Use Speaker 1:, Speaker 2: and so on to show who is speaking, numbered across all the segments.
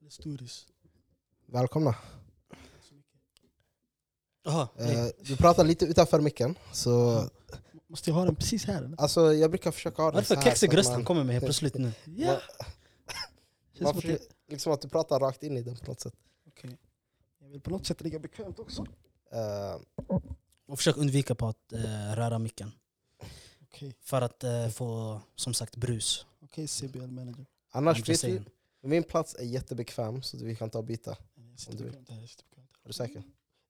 Speaker 1: Let's do this.
Speaker 2: Välkomna.
Speaker 1: Jaha,
Speaker 2: Eh, du pratar lite utanför micken. Så,
Speaker 1: måste jag ha den precis här eller?
Speaker 2: alltså, jag brukar försöka ha den
Speaker 1: Varför
Speaker 2: så här,
Speaker 1: kexig
Speaker 2: så att
Speaker 1: röst
Speaker 2: man-
Speaker 1: han kommer med helt plötsligt nu? Ja.
Speaker 2: man-
Speaker 1: Känns
Speaker 2: Man
Speaker 1: som att det,
Speaker 2: försöker, liksom att du pratar rakt in i den på något sätt.
Speaker 1: Okej. Jag vill på något sätt ligga bekvämt också.
Speaker 2: Eh,
Speaker 3: Och försök undvika på att eh, röra micken.
Speaker 1: Okej,
Speaker 3: För att eh, få, som sagt, brus.
Speaker 1: okej CBL manager.
Speaker 3: I'm
Speaker 2: annars,
Speaker 3: just
Speaker 2: vet
Speaker 3: saying.
Speaker 2: du, min plats är jättebekväm så vi kan ta och byta. Är
Speaker 1: Jag
Speaker 2: Om
Speaker 1: sitter
Speaker 2: du vill.
Speaker 1: bekvämt här, jag sitter bekvämt här.
Speaker 2: du säker?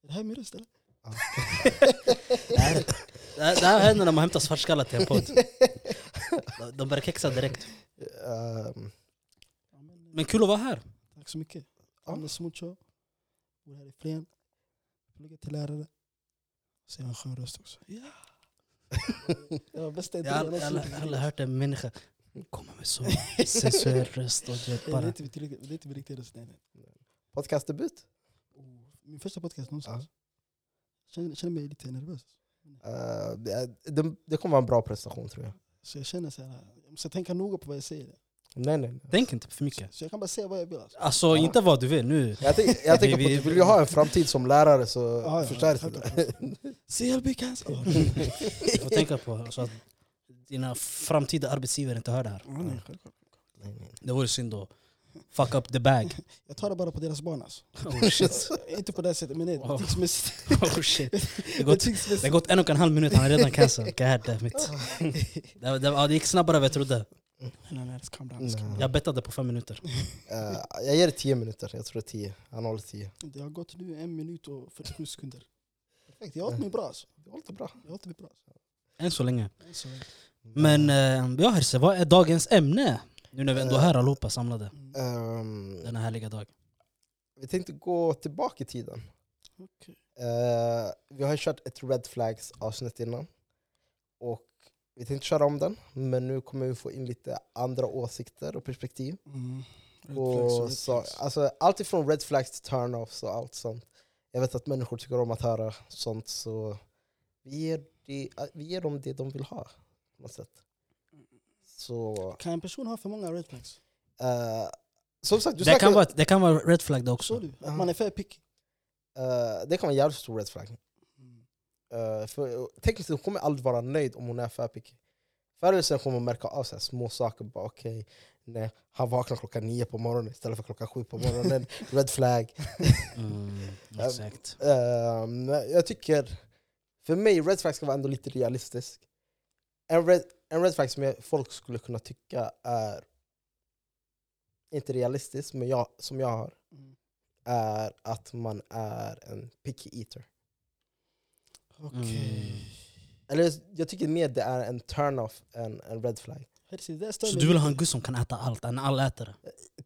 Speaker 1: Är det här min röst eller?
Speaker 3: Det här, det här- det här händer när man hämtar svartskallar till en podd. De- De börjar kexa direkt.
Speaker 2: Ehm,
Speaker 1: Ja, men, eh,
Speaker 3: Men kul att vara här.
Speaker 1: tack så mycket.
Speaker 2: Ja.
Speaker 1: Anders Mucho. Bor här i Flen. Pluggar till lärare. Så jag har en skön röst också. Ja. Det var bästa
Speaker 3: Jag har
Speaker 1: idén
Speaker 3: aldrig-
Speaker 1: någonsin.
Speaker 3: aldrig- aldrig hört en människa komma med så sensuell röst. Och du vet,
Speaker 1: Det är
Speaker 3: bara.
Speaker 1: inte mitt riktiga- det är inte min riktiga röst. nej, nej.
Speaker 2: Podcastdebut?
Speaker 1: Oh, Min första podcast någonsin. Ja. Känner, känner mig lite nervös.
Speaker 2: Eh, det, det, det kommer vara en bra prestation tror jag.
Speaker 1: Så jag känner så här, jag måste tänka noga på vad jag säger.
Speaker 2: Nej, nej. nej.
Speaker 3: Tänk inte för mycket.
Speaker 1: Så jag kan bara säga vad jag vill. Alltså.
Speaker 3: Alltså inte vad du vill nu.
Speaker 2: Jag, tänk, jag tänker på att
Speaker 3: Vi-
Speaker 2: du vill ju ha en framtid som lärare så
Speaker 1: Ja, ja,
Speaker 2: förstärk det. där.
Speaker 1: självklart. CLB cancer.
Speaker 3: Du får tänka på så att dina framtida arbetsgivare inte hör det här.
Speaker 1: Ja, nej, självklart.
Speaker 2: Nej, nej.
Speaker 3: Det vore synd att fuck up the bag.
Speaker 1: Jag tar det bara på deras barn alltså.
Speaker 3: Oh shit.
Speaker 1: Inte på det sättet, men nej,
Speaker 3: Wow.
Speaker 1: betygsmässigt.
Speaker 3: Oh shit. Det går Det har
Speaker 1: betygsmässigt.
Speaker 3: gått en och en halv minut, han är redan cancelled. God damn it. Det, det, ja, det gick snabbare än vad jag trodde.
Speaker 1: Nej, alltså. nej, det ska bli bra.
Speaker 2: Nej.
Speaker 3: Jag bettade på fem minuter.
Speaker 2: Eh, jag ger det tio minuter. Jag tror det är tio. Han håller tio.
Speaker 1: Det har gått nu en minut och 47 sekunder. Perfekt, jag har hållit mig bra alltså.
Speaker 2: Det låter bra.
Speaker 1: Jag har hållit mig bra. Alltså.
Speaker 3: Än så länge.
Speaker 1: Än så länge.
Speaker 3: Men eh, ja Herse, vad är dagens ämne? Nu när vi ändå är
Speaker 2: Eh.
Speaker 3: här allihopa samlade
Speaker 1: Mm.
Speaker 2: Ehm,
Speaker 3: denna härliga dag.
Speaker 2: vi tänkte gå tillbaka i tiden.
Speaker 1: Okej.
Speaker 2: Eh, vi har ju kört ett Red Flags avsnitt innan. Och vi tänkte köra om den, men nu kommer vi få in lite andra åsikter och perspektiv.
Speaker 1: Mm. Red flags
Speaker 2: Och
Speaker 1: red
Speaker 2: så,
Speaker 1: flags.
Speaker 2: alltså, allt ifrån Red Flags till turn-offs och allt sånt. Jag vet att människor tycker om att höra sånt, så vi ger, det, vi ger dem det de vill ha. På något sätt. Så,
Speaker 1: Kan en person ha för många red flags?
Speaker 2: eh, som sagt, du
Speaker 3: Det
Speaker 2: snackar-
Speaker 3: kan, vara, det kan vara red flag det
Speaker 1: Så
Speaker 3: också.
Speaker 1: du?
Speaker 2: Ja.
Speaker 1: Att man är för picky?
Speaker 2: eh, det kan vara en jävligt stor red flag.
Speaker 1: Mm.
Speaker 2: Eh, för, och tekniskt sett kommer jag aldrig vara nöjd om hon är för picky. Förr eller senare kommer hon märka av så här, små saker. Bara, okej, nej, han vaknar klockan nio på morgonen istället för klockan sju på morgonen. Red flag.
Speaker 3: Mm,
Speaker 2: Ja.
Speaker 3: exakt.
Speaker 2: Ehm, jag tycker, för mig, red flag ska vara ändå lite realistisk. En red, en red flag som jag, folk skulle kunna tycka är, inte realistisk, men jag, som jag har,
Speaker 1: Mm.
Speaker 2: är att man är en picky eater.
Speaker 1: Okej.
Speaker 3: Mm.
Speaker 2: Eller jag tycker mer det är en turn-off än en red flag.
Speaker 1: Hersi, det där stör
Speaker 3: Så
Speaker 1: mig
Speaker 3: du vill
Speaker 1: lite.
Speaker 3: ha en gud som kan äta allt, en allätare?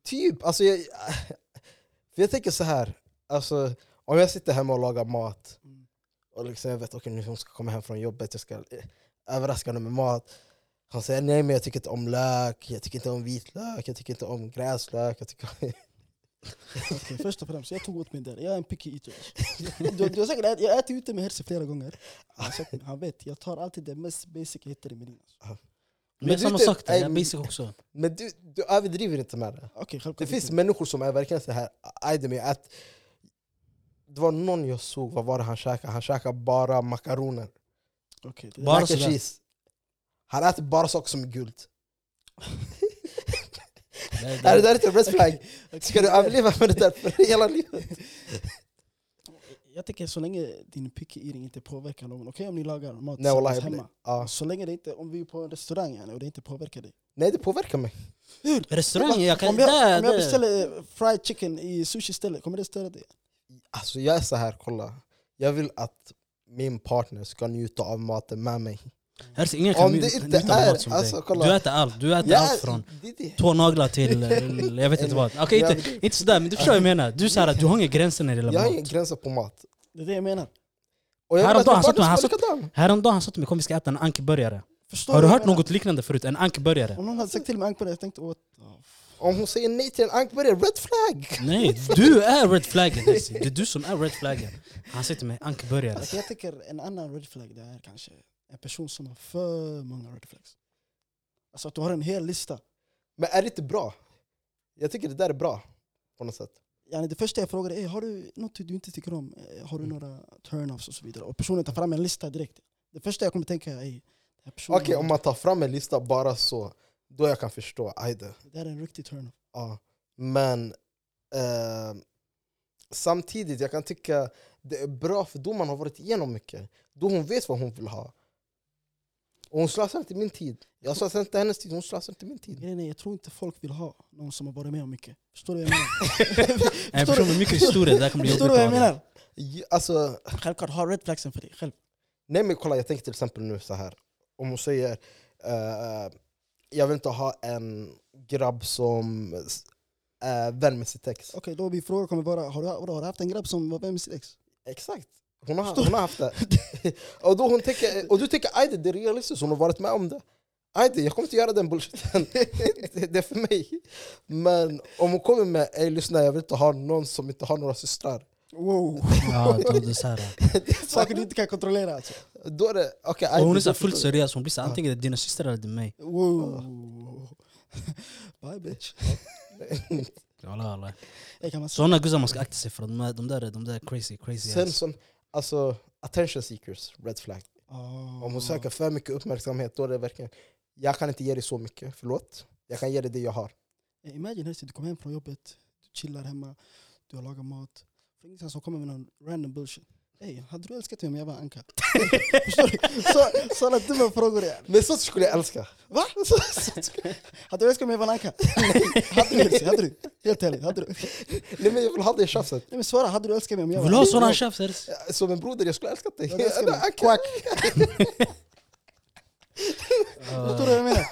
Speaker 2: Typ, alltså jag, för jag tänker så här. Alltså, om jag sitter hemma och lagar mat
Speaker 1: Mm.
Speaker 2: och liksom jag vet att nu hon ska komma hem från jobbet, jag ska eh, överraska henne med mat. Hon säger nej men jag tycker inte om lök, jag tycker inte om vitlök, jag tycker inte om gräslök. Jag tycker...
Speaker 1: Okej, först och främst, jag tog åt mig där. Jag är en picky eater. Du, du har säkert, ät- jag äter ute med Herse flera gånger. Han, har sagt- han vet, jag tar alltid det mest basic jag hittar i menyn. Alltså.
Speaker 3: Men,
Speaker 2: Men
Speaker 3: jag
Speaker 2: du
Speaker 3: samma
Speaker 2: typ-
Speaker 3: sak där, jag är
Speaker 2: nej,
Speaker 3: basic också.
Speaker 2: Men du, du överdriver inte med det.
Speaker 1: Okej, självklart.
Speaker 2: Det finns
Speaker 1: inte.
Speaker 2: människor som är verkligen så här, aj det mig att det var någon jag såg, vad var det han käkade? Han käkade bara makaroner.
Speaker 1: Okej, det,
Speaker 3: Bara
Speaker 2: Bara
Speaker 3: sådär.
Speaker 2: cheese. Han äter bara saker som är gult.
Speaker 3: Det,
Speaker 2: Är det
Speaker 3: det,
Speaker 2: där inte en red flag?
Speaker 1: Okej,
Speaker 2: Ska du
Speaker 1: det där-
Speaker 2: överleva med det där för hela livet?
Speaker 1: Jag tänker så länge din picky eating inte påverkar någon. Okej om ni lagar mat
Speaker 2: Nej, wallahi,
Speaker 1: tillsammans
Speaker 2: jag blir-
Speaker 1: hemma.
Speaker 2: ja.
Speaker 1: Så länge det inte, om vi är på en restaurang yani, och det inte påverkar dig.
Speaker 2: Nej, det påverkar mig.
Speaker 3: restaurang, jag kan...
Speaker 1: om, jag,
Speaker 3: där,
Speaker 1: om jag
Speaker 3: där.
Speaker 1: beställer eh, fried chicken i sushi stället, kommer det störa dig?
Speaker 2: Alltså jag är så här, kolla. Jag vill att min partner ska njuta av maten med mig.
Speaker 3: Herse, ingen kan
Speaker 2: Om det
Speaker 3: njuta
Speaker 2: inte
Speaker 3: njuta av
Speaker 2: är-
Speaker 3: mat som
Speaker 2: alltså,
Speaker 3: dig.
Speaker 2: kolla.
Speaker 3: Du äter allt, du äter
Speaker 2: Jag
Speaker 3: allt
Speaker 2: är-
Speaker 3: från
Speaker 2: det är det.
Speaker 3: tånaglar till, eh, jag vet inte vad. Okej,
Speaker 2: Jag-
Speaker 3: inte, inte sådär, men du förstår vad jag menar. Du, är så här, att du har inga gränser när det gäller
Speaker 2: Jag har
Speaker 3: mat.
Speaker 2: inga gränser på mat.
Speaker 1: Det är det jag menar.
Speaker 2: Och jag vill att
Speaker 3: Häromdagen
Speaker 2: min
Speaker 3: satt
Speaker 2: partner
Speaker 3: man-
Speaker 2: ska vara likadan.
Speaker 3: Häromdagen han sa till mig kom vi ska äta en ankburgare.
Speaker 1: Förstår
Speaker 3: Har du
Speaker 1: vad Oh jag
Speaker 3: hört
Speaker 1: menar?
Speaker 3: något liknande förut? En ankburgare?
Speaker 1: Om någon hade sagt till mig ankbara, jag tänkte åt... Oh,
Speaker 2: Om hon säger nej till en ankburgare, red flag!
Speaker 3: Nej, du är red flaggen. Hesse. Det är du som är red flaggen. Han säger till mig ankburgare.
Speaker 1: Alltså jag tänker en annan red flag det är kanske en person som har för många red flags. Alltså att du har en hel lista.
Speaker 2: Men är det inte bra? Jag tycker det där är bra. på något sätt.
Speaker 1: Yani det första jag frågar är, har du något du inte tycker om? Eh, Har du några turn-offs och så vidare? Och personen tar fram en lista direkt. Det första jag kommer tänka är, "Ey, den här personen,
Speaker 2: Okej, om man tar fram en lista bara så, då jag kan förstå. Aj då.
Speaker 1: det här är en riktig turn-off.
Speaker 2: Ja. Men eh, samtidigt, jag kan tycka det är bra för domaren har varit igenom mycket. Då hon vet vad hon vill ha. Och hon slösar inte min tid. Jag slösar inte hennes tid, hon slösar inte min tid.
Speaker 1: Grejen är, jag tror inte folk vill ha någon som har varit med om mycket. Förstår du vad jag menar?
Speaker 3: En person med mycket historia, det där kommer bli jobbigt.
Speaker 1: Förstår du vad jag
Speaker 3: att ha det.
Speaker 1: menar?
Speaker 2: Ju- Alltså,
Speaker 1: Självklart, ha red flagsen för dig själv.
Speaker 2: nej men kolla, jag tänker till exempel nu så här. Om hon säger eh, jag vill inte ha en grabb som är vän med sitt ex.
Speaker 1: Okej, då min fråga kommer vara, har du, vadå, har du haft en grabb som var vän med sitt ex?
Speaker 2: Exakt. Hon har, hon har haft det. och, då hon tänker, och du tänker ajde, det är realistiskt, hon har varit med om det. Ajde, jag kommer inte göra den bullshiten. det, det är för mig. Men om hon kommer med ej lyssna, jag vill inte ha någon som inte har några systrar.
Speaker 1: Wow!
Speaker 3: Ja, jag trodde så här.
Speaker 1: Saker du inte kan kontrollera alltså.
Speaker 2: Då är det, okej,
Speaker 3: Och
Speaker 2: ajde,
Speaker 3: hon är
Speaker 2: då
Speaker 3: så här fullt
Speaker 2: förstår
Speaker 3: seriös, hon blir så här, antingen det är dina systrar eller det är mig.
Speaker 1: Wow! Bye bitch.
Speaker 2: jag.
Speaker 3: Alla, alla.
Speaker 1: Ey, kan man säga?
Speaker 3: Sådana guzzar man ska akta sig för, de där, de där, de där crazy, crazy
Speaker 2: Sen
Speaker 3: ass.
Speaker 2: som, alltså, attention seekers, red flag.
Speaker 1: Ah.
Speaker 2: Om hon söker för mycket uppmärksamhet, då är det verkligen, jag kan inte ge dig så mycket, förlåt. Jag kan ge dig det jag har.
Speaker 1: Eh, Imagine Hessie, du kommer hem från jobbet, du chillar hemma, du har lagat mat. Från ingenstans så kommer med någon random bullshit. Ey, hade du älskat mig om jag var anka? Förstår du? Så- Sådana dumma frågor. ja.
Speaker 2: Men sånt skulle jag älska.
Speaker 1: Va? Så- så- så- Hade du älskat mig om jag var en anka? Hade du Hessie? Hade du? Helt ärligt, hade du? Nej
Speaker 2: Nej, men jag vill ha det i tjafset.
Speaker 1: men svara, hade du älskat mig om jag var
Speaker 3: Vill du ha
Speaker 1: anka?
Speaker 3: sådana tjafs? är det-
Speaker 2: Eh, Som en broder, jag skulle älska dig.
Speaker 1: Jag älskar dig.
Speaker 2: Anka.
Speaker 1: Förstår du vad jag menar?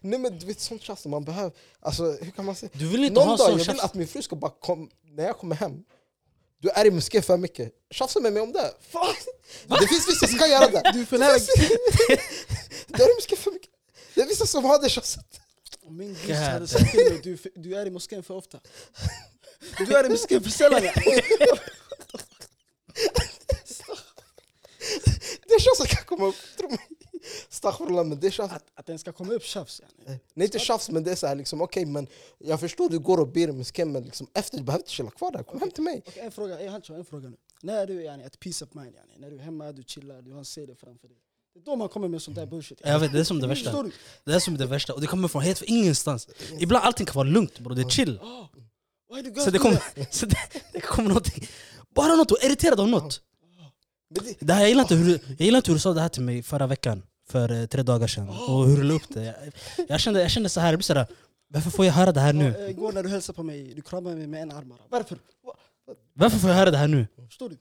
Speaker 2: Nej men du vet sånt tjafs som man behöver. Alltså hur kan man säga?
Speaker 3: Du vill inte
Speaker 2: Någon
Speaker 3: ha
Speaker 2: dag jag
Speaker 3: sån
Speaker 2: vill
Speaker 3: tjafs?
Speaker 2: att min fru ska bara komma, när jag kommer hem. Du är i moské för mycket. Tjafsa med mig om det. Fan. Det finns vissa som kan göra det.
Speaker 1: Du är för lärd.
Speaker 2: Du är i moské för mycket. Det är vissa som har det tjafset.
Speaker 1: Min
Speaker 3: God
Speaker 1: gris hade sagt till mig, du, är för- du är i moskén för ofta. Du är i moskén för sällan. ja.
Speaker 2: Det tjafset kan komma upp, tro mig. Astaghfirullah men det tjafset.
Speaker 1: Att, att den ska komma upp tjafs. yani.
Speaker 3: Eh.
Speaker 2: Nej inte tjafs men det är så här liksom okej men jag förstår du går och ber i moské men liksom efter du behöver inte chilla kvar där. Kom hem till mig.
Speaker 1: Och en fråga, jag har en fråga nu. När är du yani, ett peace of mind, yani, när du är hemma, du chillar, du har en serie framför dig. Det är då man kommer med sånt där bullshit. yani.
Speaker 3: Jag vet, det är som det
Speaker 1: Förstår
Speaker 3: värsta.
Speaker 1: du?
Speaker 3: Det är som det värsta. Och det kommer från helt från ingenstans. Ibland allting kan vara lugnt bror, det är chill.
Speaker 1: Ah, why do girls
Speaker 3: Så det
Speaker 1: do
Speaker 3: kommer,
Speaker 1: that?
Speaker 3: så det, det kommer någonting. Bara något, och irriterad av något.
Speaker 2: Men det,
Speaker 3: Det här, jag, gillar inte hur, du- jag gillar inte hur du sa det här till mig förra veckan, för eh, tre dagar sedan. Och hur du la upp det. Jag, jag, kände, jag kände så här, jag blir så här, varför får jag höra det här
Speaker 1: Ja,
Speaker 3: nu?
Speaker 1: eh, Igår när du hälsade på mig, du kramade mig med en arm bara. Varför? Va-
Speaker 3: Varför får jag höra det här nu?
Speaker 1: Förstår du?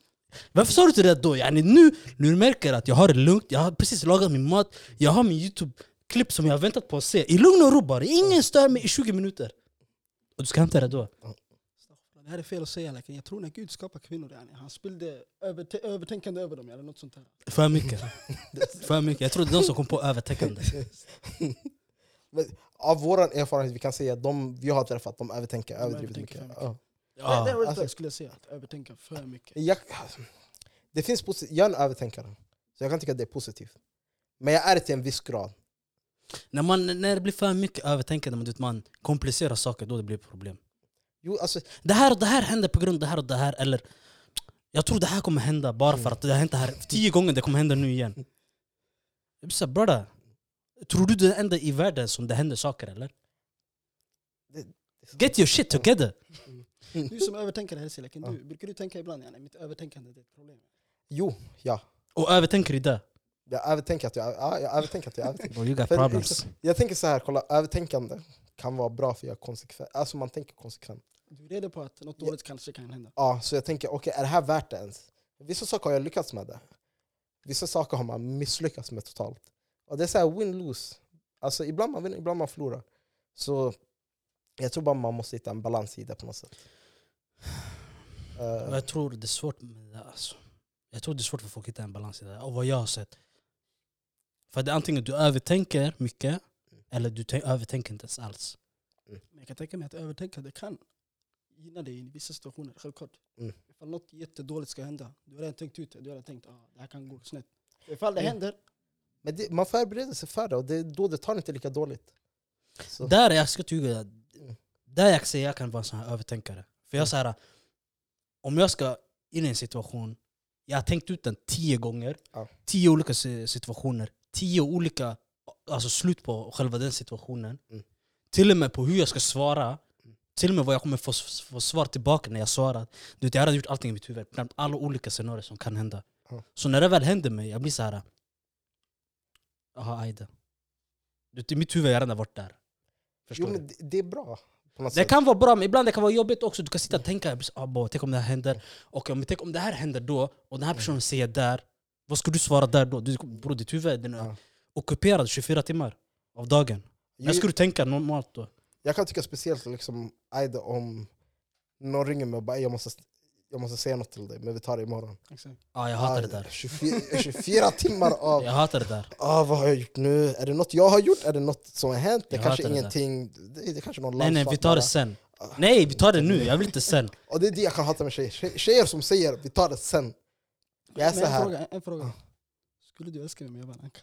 Speaker 3: Varför sa du inte det då? Yani nu, nu märker jag att jag har det lugnt, jag har precis lagat min mat, jag har min YouTube-klipp som jag har väntat på att se. I lugn och ro bara, ingen stör mig i 20 minuter. Och du ska hämta det då?
Speaker 1: Det här är fel att säga, like, jag tror när Gud skapar kvinnor, yani, han spillde överte- övertänkande över dem eller något sånt där.
Speaker 3: För mycket. För mycket. Jag tror det är de som kom på övertäckande.
Speaker 2: men, av vår erfarenhet vi kan säga att de vi har träffat de övertänker överdrivet
Speaker 1: övertänker
Speaker 2: mycket.
Speaker 1: för mycket.
Speaker 2: Ja.
Speaker 1: Ah, det
Speaker 3: Ja.
Speaker 1: är red
Speaker 2: alltså-
Speaker 1: flag skulle jag säga, att övertänka för mycket.
Speaker 2: Jag, det finns posi- jag är en övertänkare, så jag kan tycka att det är positivt. Men jag är det till en viss grad.
Speaker 3: När, man, när det blir för mycket övertänkande, men du vet, man komplicerar saker, då det blir problem.
Speaker 2: Jo, alltså,
Speaker 3: Det här och det här händer på grund av det här och det här, eller jag tror det här kommer hända bara för att det har hänt det här tio gånger, det kommer hända nu igen. Jag blir så här, brother, tror du du är den enda i världen som det händer saker eller? Get your shit together!
Speaker 1: Du som övertänker här Selekin, du, brukar du tänka ibland yani, mitt övertänkande det är ett problem?
Speaker 2: jo, ja.
Speaker 3: Och övertänker i det.
Speaker 2: Jag övertänker att jag, ja, jag övertänker. Att jag, övertänker.
Speaker 3: Bro, you got
Speaker 2: För-
Speaker 3: problems.
Speaker 2: jag tänker så här, kolla, övertänkande kan vara bra för jag är konsekvent. Alltså man tänker konsekvent.
Speaker 1: Du är redo på att något dåligt kanske kan hända.
Speaker 2: Ja, så jag tänker, okej, är det här värt det ens? Vissa saker har jag lyckats med det. Vissa saker har man misslyckats med totalt. Och det är så här win-lose. Alltså ibland man vinner, ibland man förlorar. Så jag tror bara man måste hitta en balans i det på något sätt. Eh,
Speaker 3: Och Jag tror det är svårt med det alltså. Jag tror det är svårt för folk att hitta en balans i det, av vad jag har sett. För det är antingen du övertänker mycket,
Speaker 2: Mm.
Speaker 3: eller du tän- övertänker inte ens alls.
Speaker 1: Men jag kan tänka mig att övertänkande kan gynna dig i vissa situationer, självklart.
Speaker 2: Mm.
Speaker 1: Ifall något jättedåligt ska hända, du har redan tänkt ut det, du har redan tänkt att ah, det här kan gå snett. Så ifall det
Speaker 2: Mm.
Speaker 1: händer,
Speaker 2: Men det, man Mm. förbereder sig för det och det, är då det tar inte lika dåligt. Så, Mm.
Speaker 3: Där, jag ska tyga, Där jag säger jag kan vara en sån här övertänkare. För jag så här, om jag ska in i en situation, jag har tänkt ut den tio gånger,
Speaker 2: Ja.
Speaker 3: tio olika si- situationer, tio olika alltså slut på själva den situationen.
Speaker 2: Mm.
Speaker 3: Till och med på hur jag ska svara, till och med vad jag kommer få, s- få svar tillbaka när jag svarar. Du vet, jag hade gjort allting i mitt huvud, bland alla olika scenarier som kan hända.
Speaker 2: Ja.
Speaker 3: Så när det väl händer mig, jag blir så här. Jaha, ajde. Du vet, I mitt huvud har jag redan varit där. Förstår
Speaker 2: Jo,
Speaker 3: du?
Speaker 2: men det, det är bra. På något
Speaker 3: Det
Speaker 2: sätt.
Speaker 3: kan vara bra, men ibland det kan vara jobbigt också. Du kan sitta och tänka, ah, bo, tänk om det här händer. Och om, tänk om det här händer då, och den
Speaker 2: Mm.
Speaker 3: här personen säger där. Vad ska du svara där då? Du, bro, ditt huvud den är
Speaker 2: Ja.
Speaker 3: ockuperad 24 timmar av dagen.
Speaker 2: Jo,
Speaker 3: Vad ska du tänka normalt då?
Speaker 2: Jag kan tycka speciellt liksom, Aida, om någon ringer mig och bara jag måste, jag måste säga något till dig, men vi tar det imorgon.
Speaker 1: Exakt.
Speaker 3: Ja, jag hatar det
Speaker 2: Ah,
Speaker 3: där.
Speaker 2: 24, 24 timmar av
Speaker 3: Jag hatar det där.
Speaker 2: ah, vad har jag gjort nu? Är det något jag har gjort? Är det något som har hänt? Det
Speaker 3: Jag
Speaker 2: kanske
Speaker 3: hatar det där.
Speaker 2: ingenting. Det, det, kanske är någon
Speaker 3: Nej nej, vi
Speaker 2: landslapp
Speaker 3: tar
Speaker 2: bara.
Speaker 3: det sen.
Speaker 2: Ah.
Speaker 3: Nej, vi tar det nu. Jag vill inte sen.
Speaker 2: Och det är det jag kan hata med tjejer. Tje- Tjejer som säger vi tar det sen. Jag är
Speaker 1: Men
Speaker 2: så
Speaker 1: en
Speaker 2: här. Ah.
Speaker 1: fråga, en fråga. Skulle du älska mig om jag var en anka?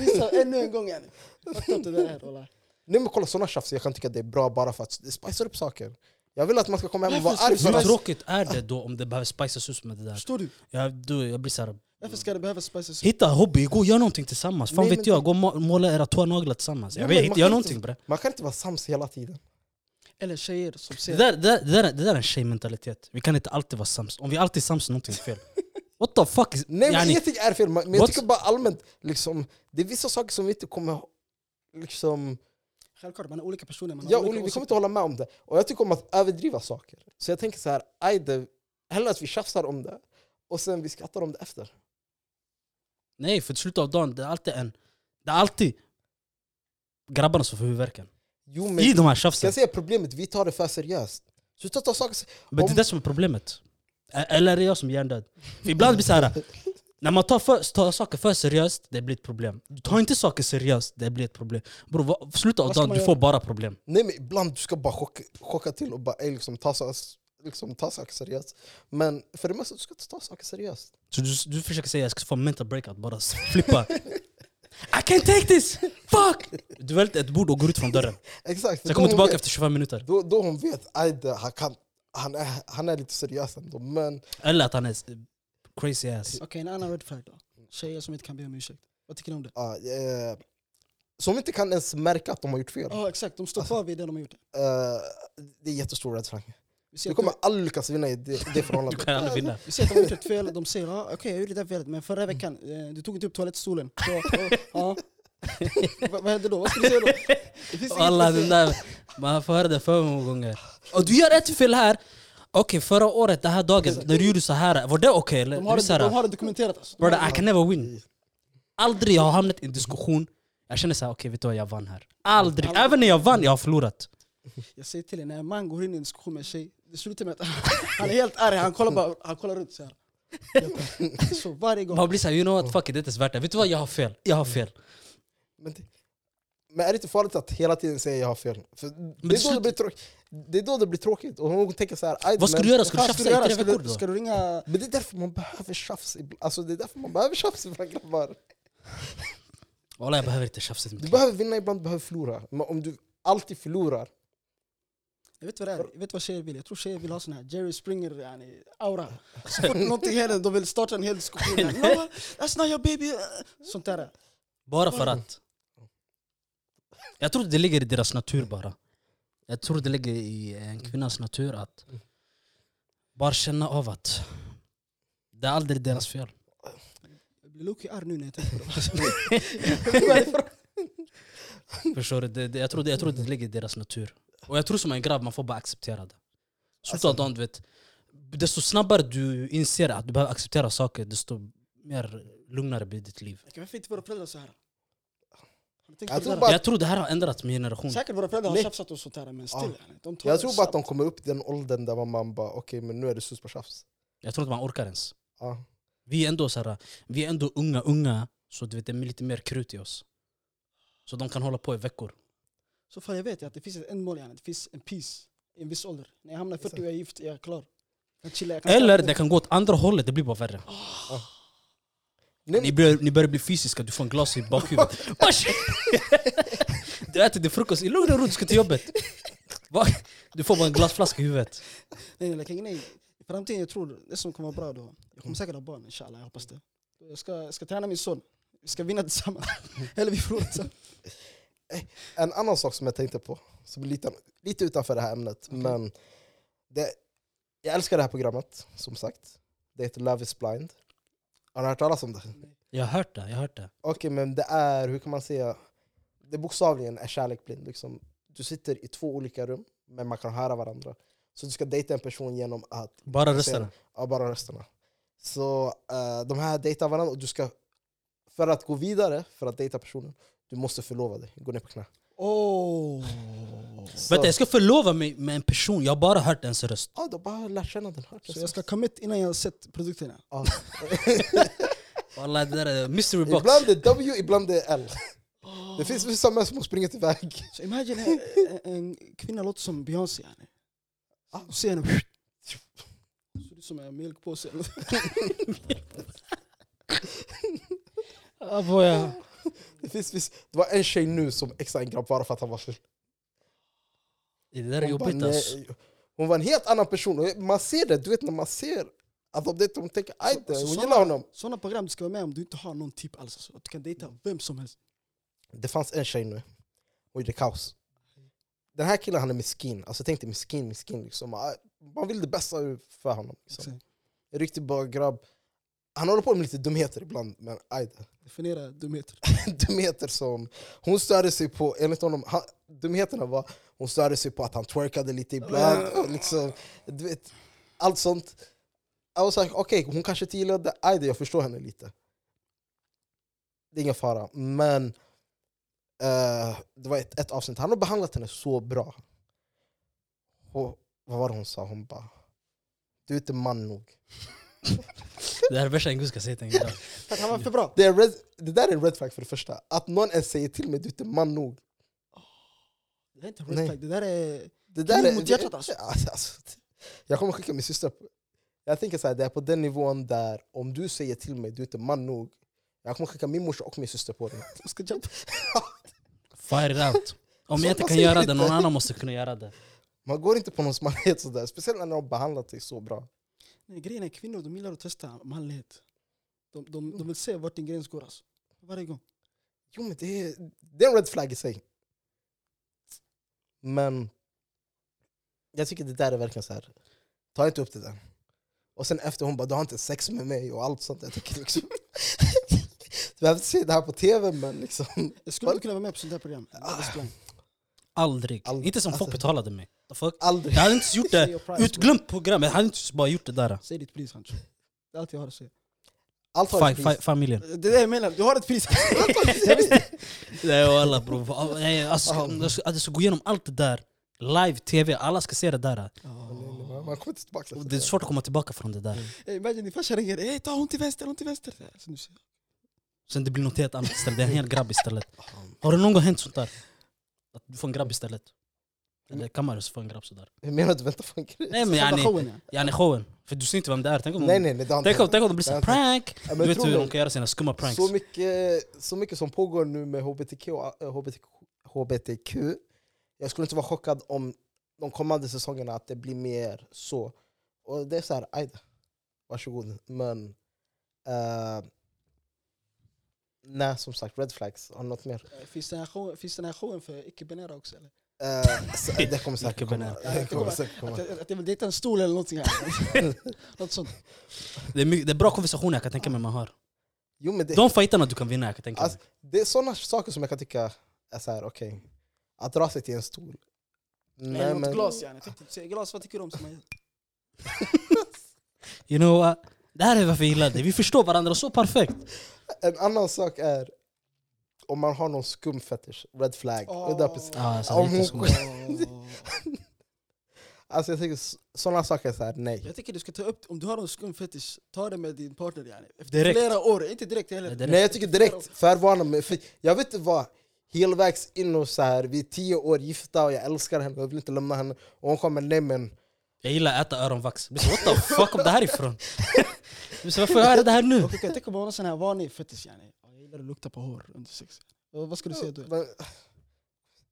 Speaker 1: Visar ännu en gång yani. Fattar inte det här walla.
Speaker 2: Nej men kolla sådana tjafs, jag kan tycka att det är bra bara för att det spicar upp saker. Jag vill att man ska komma hem och vara
Speaker 1: Varför
Speaker 2: arg
Speaker 1: ska
Speaker 2: för
Speaker 1: du-
Speaker 3: Hur
Speaker 2: att...
Speaker 3: tråkigt är det då om det behöver spices upp med det där?
Speaker 1: Förstår du?
Speaker 3: Jag, du, jag blir såhär,
Speaker 1: Varför ska det behöva spices up?
Speaker 3: hitta hobby, gå och gör någonting tillsammans. Fan
Speaker 2: Nej,
Speaker 3: vet
Speaker 2: men
Speaker 3: jag, gå och må- måla era tånaglar tillsammans.
Speaker 2: Nej,
Speaker 3: Jag
Speaker 2: men
Speaker 3: vet,
Speaker 2: man
Speaker 3: hitta-
Speaker 2: kan
Speaker 3: gör
Speaker 2: inte-
Speaker 3: någonting bre.
Speaker 2: Man kan inte vara sams hela tiden.
Speaker 1: Eller tjejer som
Speaker 3: Det
Speaker 1: säger
Speaker 3: där, det, där, det, där, det där är en tjejmentalitet. Vi kan inte alltid vara sams. Om vi alltid är sams är någonting fel. What the fuck? Is,
Speaker 2: Nej men
Speaker 3: yani,
Speaker 2: ingenting är fel, men jag
Speaker 3: What-
Speaker 2: tycker bara allmänt liksom, det är vissa saker som vi inte kommer liksom,
Speaker 1: Självklart, man är olika personer. Man har
Speaker 2: ja,
Speaker 1: olika
Speaker 2: Olle, vi kommer
Speaker 1: åsikter.
Speaker 2: inte hålla med om det. Och jag tycker om att överdriva saker. Så jag tänker så här, aj, det, hellre att vi tjafsar om det och sen vi skrattar om det efter.
Speaker 3: nej, för i slutet av dagen, det är alltid en... Det är alltid grabbarna som får huvudvärken.
Speaker 2: Jo, men,
Speaker 3: I de här
Speaker 2: ska
Speaker 3: tjafsen.
Speaker 2: jag säga problemet, vi tar det för seriöst. Sluta ta saker
Speaker 3: Men det är
Speaker 2: om-
Speaker 3: det som är problemet. E- Eller är det jag som är hjärndöd? För ibland blir det så här, när man tar, för, tar saker för seriöst, det blir ett problem. Du tar inte saker seriöst, det blir ett problem. Bro, vad, slutet av
Speaker 1: Vad ska
Speaker 3: dagen,
Speaker 1: man
Speaker 3: du får bara problem.
Speaker 2: Nej men ibland du ska bara chocka, chocka till och bara ey, liksom, ta, så- liksom, ta saker seriöst. Men för det mesta du ska inte ta saker seriöst.
Speaker 3: Så du, du försöker säga jag ska få en mental breakout, bara s- flippa. I can't take this! Fuck! Du välter ett bord och går ut från dörren.
Speaker 2: Exakt. för
Speaker 3: Sen
Speaker 2: då
Speaker 3: kommer
Speaker 2: hon
Speaker 3: tillbaka
Speaker 2: vet,
Speaker 3: efter 25 minuter.
Speaker 2: då, då hon vet att han, kan, han, är, han är lite seriös ändå. Men
Speaker 3: Eller att han är s- crazy ass.
Speaker 1: Okej, en annan red flag då. Tjejer som inte kan be om ursäkt. Vad tycker ni om det?
Speaker 2: ah, eh, som inte kan ens märka att de har gjort fel.
Speaker 1: Ja, exakt. De står kvar vid det de har gjort.
Speaker 2: Eh, det är jättestor red flag.
Speaker 1: Vi ser,
Speaker 2: Du
Speaker 1: att de,
Speaker 2: kommer aldrig lyckas vinna i det, det
Speaker 3: Du
Speaker 2: förhållandet.
Speaker 3: kan aldrig vinna.
Speaker 1: vi ser att de har gjort ett fel. De säger ah, okej, jag gjorde det där felet, men förra
Speaker 3: Mm.
Speaker 1: veckan eh, du tog inte upp toalettstolen. Så, ja, ja. Vad- vad hände då? Vad ska du säga då? Det finns inget
Speaker 3: Alla
Speaker 1: att
Speaker 3: den
Speaker 1: säga.
Speaker 3: där, man får höra det för många gånger. Och du gör ett fel här. Okej, förra året, den här dagen, när du gjorde så här, var det okej eller?
Speaker 1: De
Speaker 3: Det
Speaker 1: har,
Speaker 3: blir
Speaker 1: det,
Speaker 3: så
Speaker 1: de
Speaker 3: här,
Speaker 1: har det dokumenterat. Alltså. De
Speaker 3: brother,
Speaker 1: har-
Speaker 3: I can never win. Aldrig jag har hamnat i en diskussion, jag känner såhär, okej vet du vad, jag vann här. Aldrig,
Speaker 1: Aldrig.
Speaker 3: även när jag vann, jag har förlorat.
Speaker 1: Jag säger till er, när en man går in i en diskussion med en tjej, det slutar med att han är helt arg. Han kollar, bara, han kollar runt så här. Så varje gång.
Speaker 3: Man blir såhär, you know what, fuck it, det är inte ens värt det. Vet du vad, jag har fel. Jag har fel.
Speaker 2: Men, det, men är det inte farligt att hela tiden säga jag har fel? För det,
Speaker 3: det
Speaker 2: är då det,
Speaker 3: slut-
Speaker 2: blir tråkigt. det är då det blir tråkigt. Och hon tänker så här, "Aj,
Speaker 3: Vad ska
Speaker 2: men-
Speaker 3: du göra? Ska du
Speaker 1: Fan, ska
Speaker 3: tjafsa
Speaker 1: du
Speaker 3: i
Speaker 1: göra?
Speaker 3: tre
Speaker 1: Ska
Speaker 3: veckor
Speaker 1: du,
Speaker 3: då?
Speaker 1: ska du ringa...
Speaker 2: Men det är därför man behöver tjafs. ibland. Alltså det är därför man behöver tjafs ibland grabbar.
Speaker 3: Walla jag behöver inte tjafsa i mitt
Speaker 2: Du
Speaker 3: liv.
Speaker 2: behöver vinna ibland, du behöver förlora. Men om du alltid förlorar,
Speaker 1: Jag vet vad det är. Jag vet vad tjejer vill. Jag tror tjejer vill ha sån här Jerry Springer yani, aura. Så fort någonting händer, de vill starta en hel diskussion. här. No, that's not your baby. Sånt där.
Speaker 3: Bara för att. Jag tror det ligger i deras natur bara. Jag tror det ligger i en kvinnas natur att bara känna av att det är aldrig deras fel.
Speaker 1: Jag blir Loki arg nu när jag tänker på det.
Speaker 3: Förstår du? Det, det, jag, tror det, jag tror det ligger i deras natur. Och jag tror som en grabb, man får bara acceptera det. Slutet av dagen, du vet. Desto snabbare du inser att du behöver acceptera saker, desto mer lugnare blir ditt liv.
Speaker 1: Okej, Varför är inte våra föräldrar så här? Har ni tänkt på
Speaker 2: Jag
Speaker 1: det
Speaker 2: tror
Speaker 1: där?
Speaker 2: bara-
Speaker 3: Jag tror det här har ändrat min generation.
Speaker 1: Säkert våra föräldrar har
Speaker 2: Nej.
Speaker 1: tjafsat och sånt där, men still.
Speaker 2: Ja.
Speaker 1: yani, de tar
Speaker 2: jag
Speaker 1: det
Speaker 2: tror bara att
Speaker 1: snabbt.
Speaker 2: de kommer upp i den åldern där man bara okej men nu är det slut på tjafs.
Speaker 3: Jag tror inte man orkar ens.
Speaker 2: Ja.
Speaker 3: Vi är ändå, så här, vi är ändå unga, unga, så du vet, det är lite mer krut i oss. Så de kan hålla på i veckor.
Speaker 1: Så fan jag vet att det finns ett ändmål, yani, det finns en peace i en viss ålder. När jag hamnar i 40 och jag är gift, jag är klar. Jag chillar, jag kan
Speaker 3: Eller
Speaker 1: slappna
Speaker 3: det kan gå åt andra hållet, det blir bara värre. Ah.
Speaker 2: Nej,
Speaker 3: Ni
Speaker 2: Ah. men,
Speaker 3: börjar, ni börjar bli fysiska, du får en glas i bakhuvudet. Osh! Du äter din frukost i lugn och ro, du ska till jobbet. Va? Du får bara en glasflaska i huvudet.
Speaker 1: Nej, like, nej, I framtiden jag tror det som kommer vara bra då. Jag kommer säkert ha barn inshallah, jag hoppas det. Jag ska, jag ska träna min son. Vi ska vinna tillsammans. Eller vi förlorar tillsammans.
Speaker 2: En annan sak som jag tänkte på, som är lite, lite utanför det här ämnet, men det, jag älskar det här programmet, som sagt. Det heter Love is blind. Har ni hört talas om det? Okej,
Speaker 3: Jag har hört det, jag har hört det.
Speaker 2: men det är, hur kan man säga, det bokstavligen är kärlek blind. Liksom. Du sitter i två olika rum, men man kan höra varandra. Så du ska dejta en person genom att
Speaker 3: Bara rösterna.
Speaker 2: Ja, bara rösterna. Så eh, de här dejtar varandra och du ska, för att gå vidare, för att dejta personen, du måste förlova dig, gå ner på knä.
Speaker 1: Oh.
Speaker 2: Så-
Speaker 3: Vänta, jag ska förlova mig med en person, jag har bara hört ens röst.
Speaker 2: Ja, du har bara lärt känna den. Hört
Speaker 1: Så jag ska commit innan jag har sett produkterna.
Speaker 2: ja.
Speaker 3: Wallah, det där är mystery box.
Speaker 2: ibland det är W, ibland det är L. Det finns vissa män som har sprungit iväg.
Speaker 1: Så imagine en, en kvinna låter som Beyoncé. Yani.
Speaker 2: Ah.
Speaker 1: Du ser henne. Det Ser ut som en mjölkpåse. eller något.
Speaker 3: Ah, boja.
Speaker 2: Det, finns, viss- det var en tjej nu som exade en grabb bara för att han var full.
Speaker 3: Det där är
Speaker 2: Hon bara,
Speaker 3: jobbigt alltså.
Speaker 2: "Nej." Hon var en helt annan person. Och Man ser det, du vet när man ser att de dejtar, hon tänker aj, det,
Speaker 1: Så-
Speaker 2: hon
Speaker 1: så-
Speaker 2: gillar honom.
Speaker 1: Sådana program du ska vara med om du inte har någon typ alls. Så att du kan dejta vem som helst.
Speaker 2: Det fanns en tjej nu, hon gjorde kaos. Den här killen han är miskin, alltså tänk dig miskin, miskin liksom. Ah, Man vill det bästa för honom. Liksom.
Speaker 1: Exakt.
Speaker 2: En riktig bra grabb. Han håller på med lite dumheter ibland, men aj det.
Speaker 1: Definiera dumheter.
Speaker 2: dumheter som hon störde sig på, enligt honom, han, dumheterna var hon störde sig på att han twerkade lite ibland, och liksom, du vet, allt sånt. Jag var såhär, okej hon kanske inte gillade aj då, jag förstår henne lite. Det är ingen fara, men eh, det var ett, ett avsnitt, han har behandlat henne så bra. Och, vad var det hon sa? Hon bara, du är inte man nog.
Speaker 3: Det här är värsta en gud ska säga till en grabb.
Speaker 1: För att han var för bra.
Speaker 2: Det, är red, det där är en red flag för det första, att någon ens säger till mig du är inte man nog.
Speaker 1: Det är inte
Speaker 2: Nej.
Speaker 1: red flag. Det där är...
Speaker 2: Det där
Speaker 1: Kniv
Speaker 2: är,
Speaker 1: mot hjärtat, alltså.
Speaker 2: Alltså, alltså, jag kommer skicka min syster. på- Jag tänker så här, det är på den nivån där om du säger till mig du är inte man nog. Jag kommer skicka min morsa och min syster på det.
Speaker 1: Du ska jumpa.
Speaker 3: Fire it out. Om
Speaker 2: Så
Speaker 3: jag inte
Speaker 2: man
Speaker 3: kan
Speaker 2: säger
Speaker 3: göra
Speaker 2: inte.
Speaker 3: det, någon annan måste kunna göra det.
Speaker 2: Man går inte på någons manlighet sådär. Speciellt när de har behandlat dig så bra.
Speaker 1: Nej, grejen är kvinnor de gillar att testa manlighet. De, de, de vill se vart din gräns går alltså. Varje gång.
Speaker 2: Jo men det är, det är en red flag i sig. Men jag tycker det där är verkligen så här. ta inte upp det där. Och sen efter hon bara, du har inte sex med mig och allt sånt. Jag tycker liksom, du behöver inte se det här på tv men liksom.
Speaker 1: Jag skulle inte kunna vara med på sånt där program. Love is blind.
Speaker 3: Aldrig.
Speaker 2: Aldrig.
Speaker 3: Inte som folk
Speaker 2: Alltså.
Speaker 3: betalade mig. The fuck?
Speaker 2: Aldrig.
Speaker 3: Jag hade inte gjort
Speaker 1: Say
Speaker 3: det.
Speaker 1: your price, man.
Speaker 3: Utglömt program, jag hade inte bara gjort det där.
Speaker 1: Säg ditt pris Hancho. Det är allt jag har att säga.
Speaker 2: Allt har ett pris.
Speaker 3: Five million.
Speaker 1: Det är det jag menar. Du har ett pris.
Speaker 3: Nej walla bror. Nej, Alltså, jag ska- att jag ska gå igenom allt det där. Live, tv, alla ska se det där.
Speaker 2: Man man kommer inte tillbaka till
Speaker 3: Och Det är svårt att komma tillbaka från det där.
Speaker 1: Hey, Imagine din farsa ringer. Hey, ta hon till vänster, hon till vänster. Så nu ser jag.
Speaker 3: Sen det blir något helt annat istället. Det är en hel grabb istället. Har det någon gång hänt sånt där? Att du får en grabb istället? Eller kammare så får en grabb sådär.
Speaker 2: Hur menar du vänta på en grej?
Speaker 3: Nej men
Speaker 1: Sabba
Speaker 3: yani,
Speaker 1: showen, ja.
Speaker 3: yani showen. För du ser inte vem det är. Tänk om,
Speaker 2: Nej nej nej, det har inte
Speaker 3: tänk om,
Speaker 2: hänt.
Speaker 3: tänk om det blir en
Speaker 2: Det har
Speaker 3: prank.
Speaker 2: Ja,
Speaker 3: Du
Speaker 2: men
Speaker 3: vet
Speaker 2: tror
Speaker 3: hur
Speaker 2: mig,
Speaker 3: de kan göra sina skumma pranks.
Speaker 2: så, mycket, så mycket som pågår nu med HBTQ, eh, HBTQ, HBTQ. Jag skulle inte vara chockad om de kommande säsongerna att det blir mer så. Och det är så här, aj då. Varsågod. Men... eh, nej som sagt, red flags. Har du något mer?
Speaker 1: Eh, Finns den här showen- finns den här showen för icke-binära också eller?
Speaker 2: Eh, så- det kommer säkert komma.
Speaker 3: Icke-binär.
Speaker 2: Det kommer säkert komma.
Speaker 1: Att, att, att jag vill dejta en stol eller någonting. Här. Något sånt.
Speaker 3: Det är, mycket, det är bra konversationer jag kan tänka mig man har.
Speaker 2: Jo, men det,
Speaker 3: De fighterna du kan vinna jag kan tänka mig.
Speaker 2: Alltså, det är sådana saker som jag kan tycka är så här, okej. Att dra sig till en stol.
Speaker 1: Nej, något glas yani. Tänkte du säga glas, vad tycker du om? som man-
Speaker 3: You know what? Det här är varför jag gillar dig. Vi förstår varandra så perfekt.
Speaker 2: En annan sak är om man har någon skum fetish, red flag. Det där precis.
Speaker 3: Ja, alltså,
Speaker 2: Om
Speaker 3: lite
Speaker 2: hon-
Speaker 3: så.
Speaker 1: Åh.
Speaker 2: Alltså jag tycker sådana saker är så här, nej.
Speaker 1: Jag tycker du ska ta upp, om du har en skum fetish, ta det med din partner yani. Efter
Speaker 3: Direkt.
Speaker 1: flera år, inte direkt heller.
Speaker 3: Nej,
Speaker 1: Det
Speaker 3: direkt.
Speaker 2: Nej jag tycker direkt, förvarna mig. För jag vet inte vad, helvägs in och så här, vi är tio år gifta och jag älskar henne och jag vill inte lämna henne. Och hon kommer, nej men.
Speaker 3: Jag gillar att äta öronvax. Jag blir så, What the fuck kom det här ifrån? Jag blir så, Varför hör jag det här nu?
Speaker 1: Okej, jag tänker bara någon sån här vanlig fetish yani. Ja, Jag gillar att lukta på hår under sex. Vad vad ska du säga då?
Speaker 2: Men,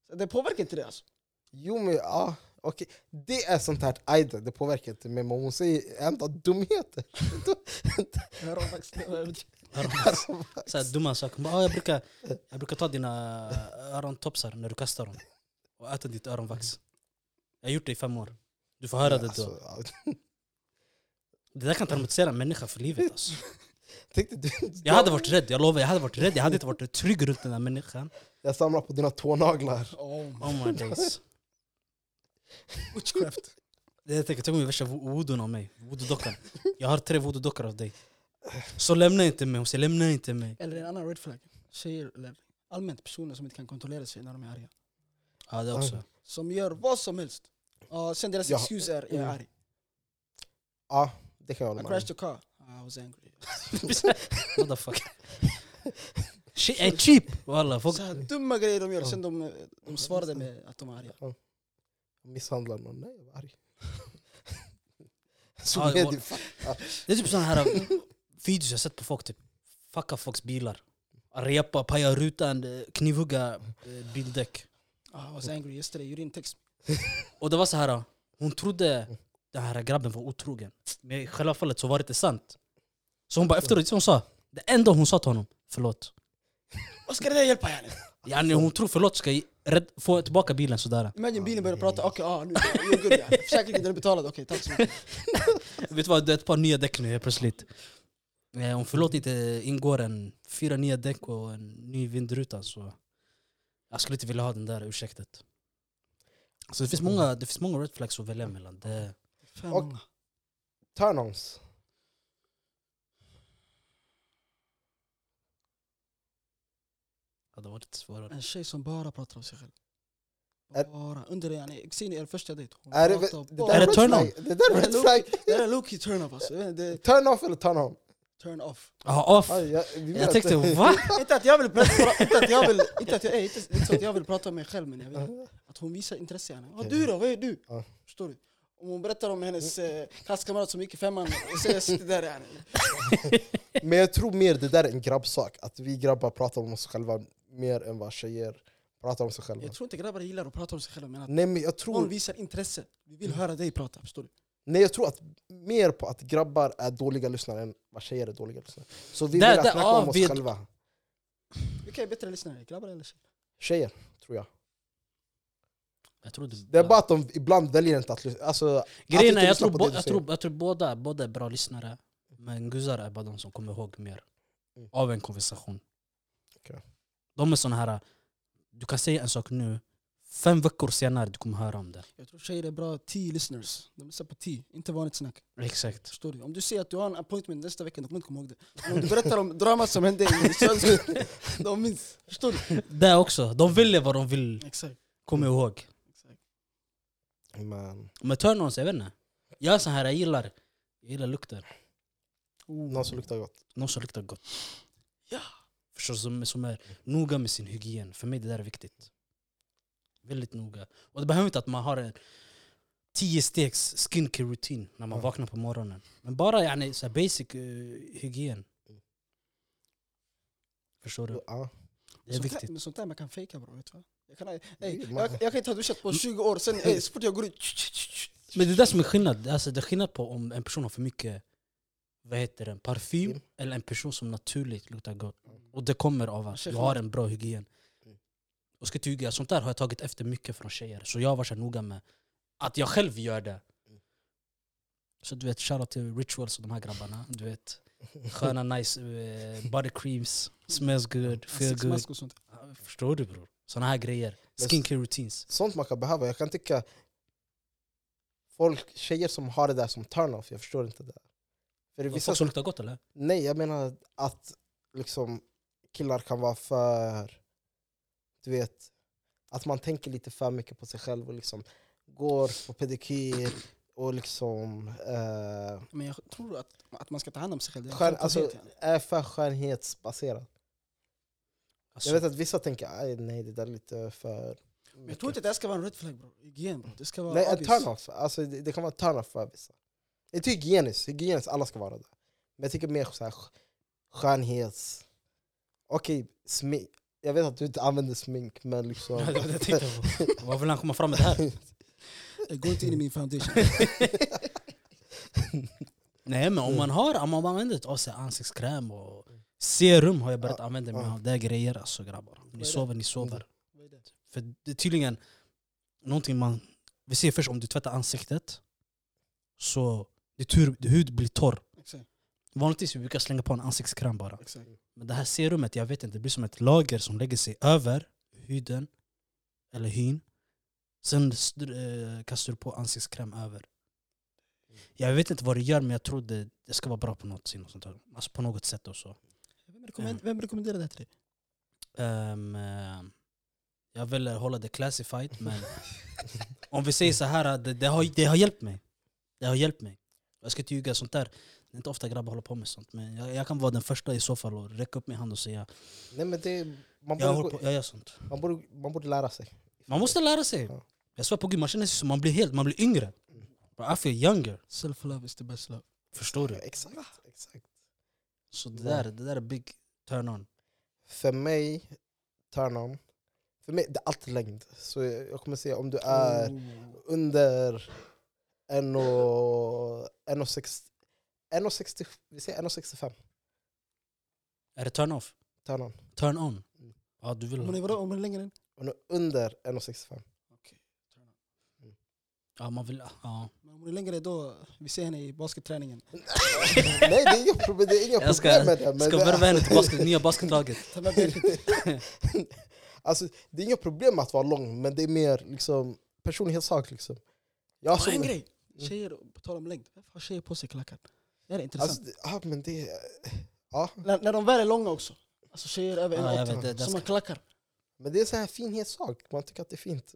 Speaker 1: Så det påverkar inte det alltså.
Speaker 2: Jo men ja, okej. Det är sånt här ajda, det påverkar inte mig. Men hon säger ändå dumheter.
Speaker 1: Öronvax.
Speaker 3: Så här dumma saker. Hon Bara, "Ah, jag, brukar, jag brukar ta dina eh, örontopsar när du kastar dem och äta ditt öronvax. Jag har gjort det i fem år. Du får höra det då.
Speaker 2: Alltså, ja.
Speaker 3: Det där kan traumatisera en människa för livet alltså.
Speaker 2: Tänkte du,
Speaker 3: Jag hade varit rädd, jag lovar. Jag hade varit rädd. Jag hade inte varit trygg runt den här människan.
Speaker 2: jag samlar på dina tånaglar.
Speaker 1: Oh my.
Speaker 3: Oh my days.
Speaker 1: Witchcraft.
Speaker 3: Det jag tänker, tänk om jag värsta vo- voodoo av mig. Voodoo-dockan. Jag har tre voodoo-dockor av dig. Så lämna inte mig. Hon säger lämna inte mig.
Speaker 1: Eller en annan red flag. Tjejer, eller allmänt personer som inte kan kontrollera sig när de är arga.
Speaker 3: Ja, det också.
Speaker 1: Som gör vad som helst. Uh, sen deras
Speaker 2: Ja.
Speaker 1: excuse är, jag är
Speaker 2: Mm.
Speaker 1: arg.
Speaker 2: Ja, det kan
Speaker 1: I
Speaker 2: jag hålla med om.
Speaker 1: crashed the car. Ah, I was angry.
Speaker 3: What the fuck? Shit är cheap! Walla, folk...
Speaker 1: Så här dumma grejer de gör,
Speaker 2: Ja.
Speaker 1: sen de, de svarade med att de är arga.
Speaker 2: Misshandlar någon? Nej, jag var arg.
Speaker 3: Ja,
Speaker 2: Så
Speaker 3: det
Speaker 2: är
Speaker 3: var-
Speaker 2: det fattar.
Speaker 3: Det är typ såna här eh, videos jag sett på folk, typ. Fucka folks bilar. Repa, paja rutan, eh, knivhugga eh, bildäck.
Speaker 1: Ah, I was angry yesterday, you didn't text me.
Speaker 3: Och det var så här, eh, hon trodde
Speaker 2: Mm.
Speaker 3: den här grabben var otrogen. Men i själva fallet så var det inte sant. Så hon
Speaker 2: Mm.
Speaker 3: bara efteråt, hon sa, det enda hon sa till honom, förlåt.
Speaker 1: Vad ska det där hjälpa yani?
Speaker 3: Yani hon tror förlåt ska ge- rädd- få tillbaka bilen sådär.
Speaker 1: Imagine bilen börjar
Speaker 2: nej.
Speaker 1: prata, okej, ah, nu you're good yani. Försäkringen den är betalad, okej tack så mycket.
Speaker 2: Mm.
Speaker 3: Vet du vad, det är ett par nya däck nu helt plötsligt. Eh, Om förlåt inte ingår en fyra nya däck och en ny vindruta så jag skulle inte vilja ha den där ursäktet. Så det finns
Speaker 2: Mm.
Speaker 3: många, det finns många red flags att välja mellan. Det,
Speaker 1: Fan,
Speaker 2: Och-
Speaker 1: många.
Speaker 2: Turn-ons.
Speaker 3: ja, det var lite svårare.
Speaker 1: En tjej som bara pratar om sig själv.
Speaker 2: Är-
Speaker 1: Bara. Under det yani, Xeni är första dejt. Hon
Speaker 2: Är det,
Speaker 1: pratar
Speaker 2: det,
Speaker 1: bara-
Speaker 2: där
Speaker 3: Är det
Speaker 2: red
Speaker 3: turn-on?
Speaker 2: flag? Det där är red
Speaker 1: Hello?
Speaker 2: flag.
Speaker 1: Det där är low-key turn-off alltså. Jag vet inte, det är
Speaker 2: Turn-off eller turn-on?
Speaker 1: Turn off.
Speaker 3: Ja, off.
Speaker 2: Aj, jag, vi vet
Speaker 3: Jag tänkte
Speaker 2: inte.
Speaker 3: va?
Speaker 1: Inte att jag vill prata, inte att jag vill, inte att jag, ey, inte, inte så att jag vill prata om mig själv men jag vill att hon visar intresse gärna. Ja, du då, vad är du?
Speaker 2: Ja.
Speaker 1: Förstår du? Om hon berättar om hennes eh, klasskamrat som gick i femman och säger så där yani.
Speaker 2: Men jag tror mer det där är en grabbsak, att vi grabbar pratar om oss själva mer än vad tjejer pratar om sig själva.
Speaker 1: Jag tror inte grabbar gillar att prata om sig själva men att
Speaker 2: Nej men jag tror,
Speaker 1: någon visar intresse. Vi vill höra dig prata, förstår du?
Speaker 2: nej, jag tror att mer på att grabbar är dåliga lyssnare än vad tjejer är dåliga lyssnare. Så vi
Speaker 3: Där-
Speaker 2: vill
Speaker 3: där-
Speaker 2: snacka
Speaker 3: ja,
Speaker 2: om oss
Speaker 3: vi-
Speaker 2: själva.
Speaker 1: Vilka är bättre lyssnare, grabbar eller tjejer?
Speaker 2: Tjejer, tror jag.
Speaker 3: Jag tror
Speaker 2: Det är bara att de ibland väljer inte att lyssna. Alltså,
Speaker 3: Grejen
Speaker 2: inte
Speaker 3: är, jag
Speaker 2: lyssna
Speaker 3: tror,
Speaker 2: på
Speaker 3: bo,
Speaker 2: det du
Speaker 3: jag,
Speaker 2: säger.
Speaker 3: tror, jag tror båda, båda är bra lyssnare. Men guzzar är bara de som kommer ihåg mer
Speaker 2: Mm.
Speaker 3: av en konversation.
Speaker 2: Okej.
Speaker 3: De är såna här, du kan säga en sak nu, fem veckor senare du kommer höra om det.
Speaker 1: Jag tror tjejer är bra tea-listeners. De lyssnar på tea, inte vanligt snack.
Speaker 3: Exakt.
Speaker 1: Förstår du? Om du säger att du har en appointment nästa vecka, de kommer inte komma ihåg det. Men om du berättar om dramat som hände i Sundsvall, de minns. Förstår du?
Speaker 3: Det också, de vill vad de vill,
Speaker 1: Exakt.
Speaker 3: kom ihåg.
Speaker 1: exakt.
Speaker 2: Men,
Speaker 3: Men turn-ons, jag vet inte. Jag är sån här, jag gillar, jag gillar lukten.
Speaker 2: någon som luktar gott.
Speaker 3: Någon som luktar gott.
Speaker 1: Ja.
Speaker 3: Förstår du? Som, som är noga med sin hygien. För mig det där är viktigt. Väldigt noga. Och det behöver inte att man har en tio stegs skincare rutin när man
Speaker 2: Ja.
Speaker 3: vaknar på morgonen. Men bara yani, så här basic eh, hygien. Förstår du?
Speaker 2: Ja.
Speaker 3: Det är
Speaker 1: sånt
Speaker 3: viktigt.
Speaker 1: Här, men sånt där man kan fejka bro, vet du vad? Jag kan, ey,
Speaker 2: Mm.
Speaker 1: jag, jag kan inte ha duschat på 20 år, sen ey, så fort jag går ut...
Speaker 3: Men det är det som är skillnad. Alltså, det är skillnad på om en person har för mycket vad heter det, parfym
Speaker 2: Mm.
Speaker 3: eller en person som naturligt luktar gott. Och det kommer av att
Speaker 1: Kanske
Speaker 3: jag har en bra hygien.
Speaker 2: Mm.
Speaker 3: Och ska tyga, sånt där har jag tagit efter mycket från tjejer. Så jag var så här noga med att jag själv gör det.
Speaker 2: Mm.
Speaker 3: Så du vet, shoutout till Rituals och de här grabbarna. Du vet, sköna nice eh, body creams, smells good,
Speaker 2: Alltså,
Speaker 3: feel good.
Speaker 1: Ansiktsmask och sånt.
Speaker 3: Förstår du bror? Såna här grejer. Skincare routines.
Speaker 2: Sånt man kan behöva. Jag kan tycka folk, tjejer som har det där som turn-off, jag förstår inte det. För det är
Speaker 3: Folk
Speaker 2: vissa
Speaker 3: som luktar gott eller?
Speaker 2: Nej, jag menar att liksom killar kan vara för... Du vet, att man tänker lite för mycket på sig själv och liksom går på pedikyr och liksom eh,
Speaker 1: Men jag tror att, att man ska ta hand om sig själv. Det är en
Speaker 2: skön, alltså,
Speaker 1: självklarhet, yani.
Speaker 2: är för skönhetsbaserad.
Speaker 3: Alltså,
Speaker 2: Jag vet att vissa tänker "Aj, nej det där är lite för...
Speaker 1: Men jag tror inte
Speaker 2: mycket."
Speaker 1: det här ska vara en red flag bro. Hygien bro. Det ska vara
Speaker 2: Nej, en
Speaker 1: obvious.
Speaker 2: turn-off. Alltså, det, det kan vara en turn-off för vissa. Jag tycker hygieniskt, hygieniskt, alla ska vara det. Men jag tycker mer så här, skönhets... Okej, smi- Jag vet att du inte använder smink, men liksom...
Speaker 3: Ja, det var det jag tänkte på. Vad vill han komma fram med det här?
Speaker 1: Jag går inte in i min foundation.
Speaker 3: Nej men om man har, om man använder ett av sig ansiktskräm och serum har jag börjat
Speaker 2: Ja,
Speaker 3: använda mig
Speaker 2: ja.
Speaker 3: av. Det är grejer alltså grabbar. Ni
Speaker 1: det?
Speaker 3: sover, ni sover.
Speaker 1: Vad är det?
Speaker 3: För det är tydligen någonting man... Vi ser först om du tvättar ansiktet så ditt hud, din hud blir torr.
Speaker 1: Exakt.
Speaker 3: Vanligtvis vi brukar slänga på en ansiktskräm bara.
Speaker 1: exakt.
Speaker 3: Men det här serumet, jag vet inte, det blir som ett lager som lägger sig över huden eller hyn. Sen str- eh, kastar du på ansiktskräm över. Jag vet inte vad det gör men jag tror det, det ska vara bra på något, sätt och sånt här. alltså på något sätt. Och så.
Speaker 1: Vem, rekommend- vem rekommenderar det här till dig?
Speaker 3: Ehm, eh, jag vill hålla det classified men om vi säger så här, att det, det, har, det har hjälpt mig. Det har hjälpt mig. Jag ska inte ljuga, sånt där. Det är inte ofta grabbar håller på med sånt men jag, jag kan vara den första i så fall och räcka upp min hand och säga
Speaker 2: Nej, men det, man,
Speaker 3: jag, håller
Speaker 2: borde,
Speaker 3: på,
Speaker 2: gå-
Speaker 3: jag gör sånt.
Speaker 2: man, borde, man borde lära sig.
Speaker 3: Man måste lära sig.
Speaker 2: Ja. Mm.
Speaker 3: Jag svär på gud, man känner sig som man blir helt, man blir yngre. Bro, I feel younger.
Speaker 1: Self-love is the best love.
Speaker 3: Förstår
Speaker 2: Ja,
Speaker 3: du?
Speaker 2: Exakt, exakt.
Speaker 3: Så det där, det där är big turn-on.
Speaker 2: För mig, turn-on, för mig det är alltid längd. Så jag, jag kommer säga om du är
Speaker 1: Oh.
Speaker 2: under 1,65, vi säger 1,65
Speaker 3: Är det turn-off?
Speaker 2: turn-on.
Speaker 3: Turn-on?
Speaker 2: Mm.
Speaker 3: Ja, du
Speaker 1: Om man är
Speaker 3: vill
Speaker 1: vadå? Om man är längre än?
Speaker 2: Om du är under 1,65.
Speaker 3: Ja, man vill... Ja.
Speaker 1: Men Om man är längre då, vi ser henne i basketträningen.
Speaker 2: Nej, det är inga problem, det är inga
Speaker 3: Jag ska-
Speaker 2: problem med det. Men det,
Speaker 3: Ska värva
Speaker 2: är,
Speaker 3: henne till basket, nya basketlaget.
Speaker 1: Ta med dig.
Speaker 2: alltså, det är inga problem att vara lång, men det är mer liksom, personlighetssak. Liksom. Jag
Speaker 1: Och
Speaker 2: som-
Speaker 1: en grej! Tjejer, på tal om längd, varför har tjejer på sig klackar? Det här är intressant.
Speaker 2: Alltså, det, ja, men det, ja,
Speaker 1: när, när de väl är långa också. Alltså tjejer över
Speaker 3: Ja, jag
Speaker 1: 1,80
Speaker 3: vet, det, det
Speaker 1: som
Speaker 3: ska,
Speaker 1: har klackar.
Speaker 2: men det är så här finhetssak, man tycker att det är fint.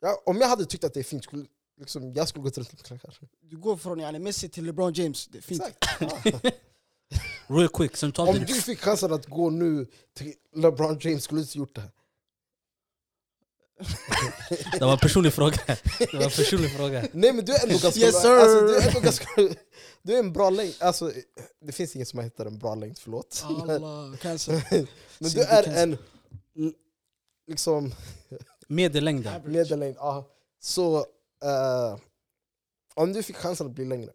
Speaker 2: Ja, om jag hade tyckt att det är fint, skulle, liksom, jag skulle gått runt med klackar.
Speaker 1: Du går från yani, Messi till LeBron James, det är fint.
Speaker 2: Exakt. Ja.
Speaker 3: real quick, sen tar
Speaker 2: Om
Speaker 3: du...
Speaker 2: du fick chansen att gå nu till LeBron James skulle du inte gjort det.
Speaker 3: Det var en personlig fråga. Det var en personlig fråga.
Speaker 2: Nej men du är ändå ganska...
Speaker 1: Yes, sir.
Speaker 2: Alltså, du, är ändå ganska du är en bra längd. Alltså, det finns ingen som heter en bra längd, förlåt. Men,
Speaker 1: Allah, cancer.
Speaker 2: men du
Speaker 1: synd,
Speaker 2: är
Speaker 1: det
Speaker 2: en l- liksom
Speaker 3: Medellängden.
Speaker 2: medellängd. Ja. Så eh, om du fick chansen att bli längre,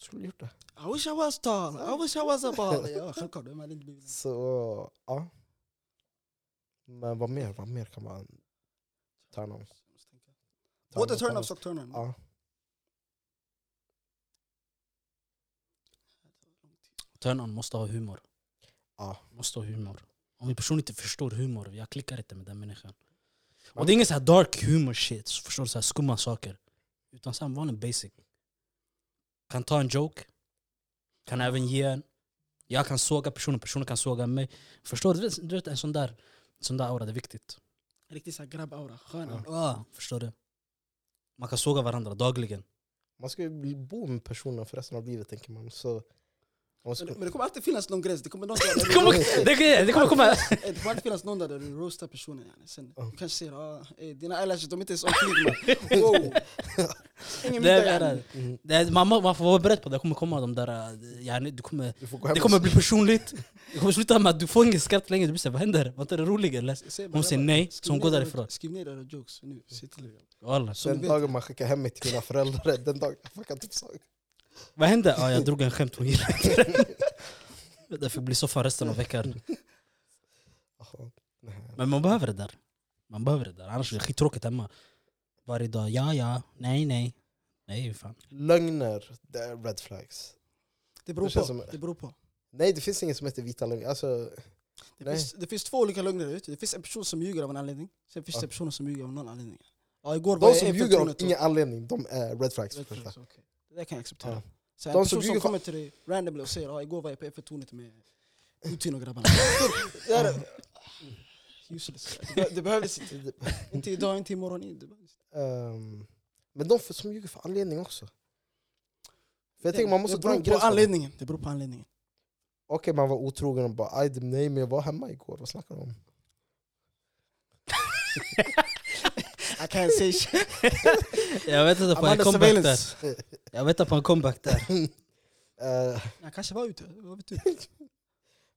Speaker 2: skulle du gjort det.
Speaker 1: I wish I was tall, I wish I was a ball. Ja, självklart, vem hade inte blivit det?
Speaker 2: Så ja. Men vad mer, vad mer kan man ta om? Ta
Speaker 1: Både
Speaker 2: om, ta om.
Speaker 1: turn-ups och turn-on.
Speaker 2: Ja.
Speaker 3: Turn-on måste ha humor.
Speaker 2: Ja.
Speaker 3: Måste ha humor. Om en person inte förstår humor, jag klickar inte med den människan. Och det är ingen så här dark humor shit, så förstår du, så här skumma saker. Utan så här vanlig basic. Kan ta en joke, kan även ge en. Jag kan såga personen, personen kan såga mig. Förstår du? Du vet- Du vet en sån där, en sån där aura, det är viktigt.
Speaker 1: Riktigt såhär grabb-aura, skön aura.
Speaker 3: Ja, förstår du? Man kan såga varandra dagligen.
Speaker 2: Man ska ju bli- bo med personen för resten av livet tänker man. Så man
Speaker 1: Men,
Speaker 2: ska,
Speaker 1: men det kommer alltid finnas någon gräns, det kommer, någon där
Speaker 3: Det kommer, det, det kommer komma!
Speaker 1: Eh, det kommer alltid finnas någon där där du roastar personen. Yani. Sen,
Speaker 2: Ja.
Speaker 1: Du kanske säger ah, eh, dina eyelashes de är inte ens omflygna. Wow. Ingen
Speaker 3: Det är
Speaker 1: middag yani.
Speaker 3: det.
Speaker 2: Mm.
Speaker 3: Det är, man, må- man får vara beredd på det, det kommer komma de där... eh, Ja, ni- du kommer,
Speaker 2: du får gå hem
Speaker 3: det kommer
Speaker 2: och-
Speaker 3: bli personligt. Det kommer sluta med att du får ingen skratt längre. Du blir såhär, vad händer? Var inte det rolig eller?
Speaker 1: Säg bara,
Speaker 3: Hon säger
Speaker 1: grabbar,
Speaker 3: nej, så
Speaker 1: skriv
Speaker 3: hon går
Speaker 1: ner era-
Speaker 3: därifrån.
Speaker 1: Skriv ner era jokes nu, se till det.
Speaker 3: Walla.
Speaker 1: Så
Speaker 2: Den
Speaker 1: du vet.
Speaker 2: dagen man skickar hem mig till mina föräldrar, den dagen jag fuckar typ så.
Speaker 3: Vad hände? Ja, jag drog en skämt, hon gillade inte den. Därför blir soffan resten av veckan.
Speaker 2: Jaha, nej.
Speaker 3: Men man behöver det där. Man behöver det där, annars blir det skittråkigt hemma. Varje dag, ja ja, nej nej. Nej fan.
Speaker 2: Lögner, det är red flags.
Speaker 1: Det beror
Speaker 2: Det känns
Speaker 1: på.
Speaker 2: som-
Speaker 1: Det beror på.
Speaker 2: Nej det finns inget som heter vita lögner. Alltså,
Speaker 1: Det
Speaker 2: Nej.
Speaker 1: finns, det finns två olika lögner där ute. Det finns en person som ljuger av en anledning, sen finns det
Speaker 2: Ja.
Speaker 1: personer som ljuger av någon anledning. Ja, igår var
Speaker 2: de
Speaker 1: jag
Speaker 2: som
Speaker 1: i
Speaker 2: ljuger av
Speaker 1: Eiffeltornet och-
Speaker 2: ingen anledning, de är red flags. för
Speaker 1: Red
Speaker 2: det första.
Speaker 1: flags, okej. Det där kan jag acceptera.
Speaker 2: Ja.
Speaker 1: Så en
Speaker 2: De som
Speaker 1: person som,
Speaker 2: ljuger-
Speaker 1: kommer till dig randomly och säger ah, igår var jag på F1-tornet med Putin och grabbarna. det, här är- useless. Det be- det behövdes inte. Inte idag, inte imorgon. inte- Det behövdes inte.
Speaker 2: Ehm, men de för- som ljuger för anledning också. För
Speaker 1: Det-
Speaker 2: jag tänker man måste
Speaker 1: det
Speaker 2: dra en
Speaker 1: beror på
Speaker 2: gräns. mellan-
Speaker 1: anledningen. Det beror på anledningen.
Speaker 2: Okej man var otrogen och bara "Aj, nej men jag var hemma igår, vad snackar du om?
Speaker 1: I can't say shit.
Speaker 3: Jag vet inte på en
Speaker 1: Amanda
Speaker 3: comeback där.
Speaker 1: surveillance.
Speaker 3: Jag vet inte på en comeback där.
Speaker 2: Eh,
Speaker 1: Jag kanske var ute. Vad vet du?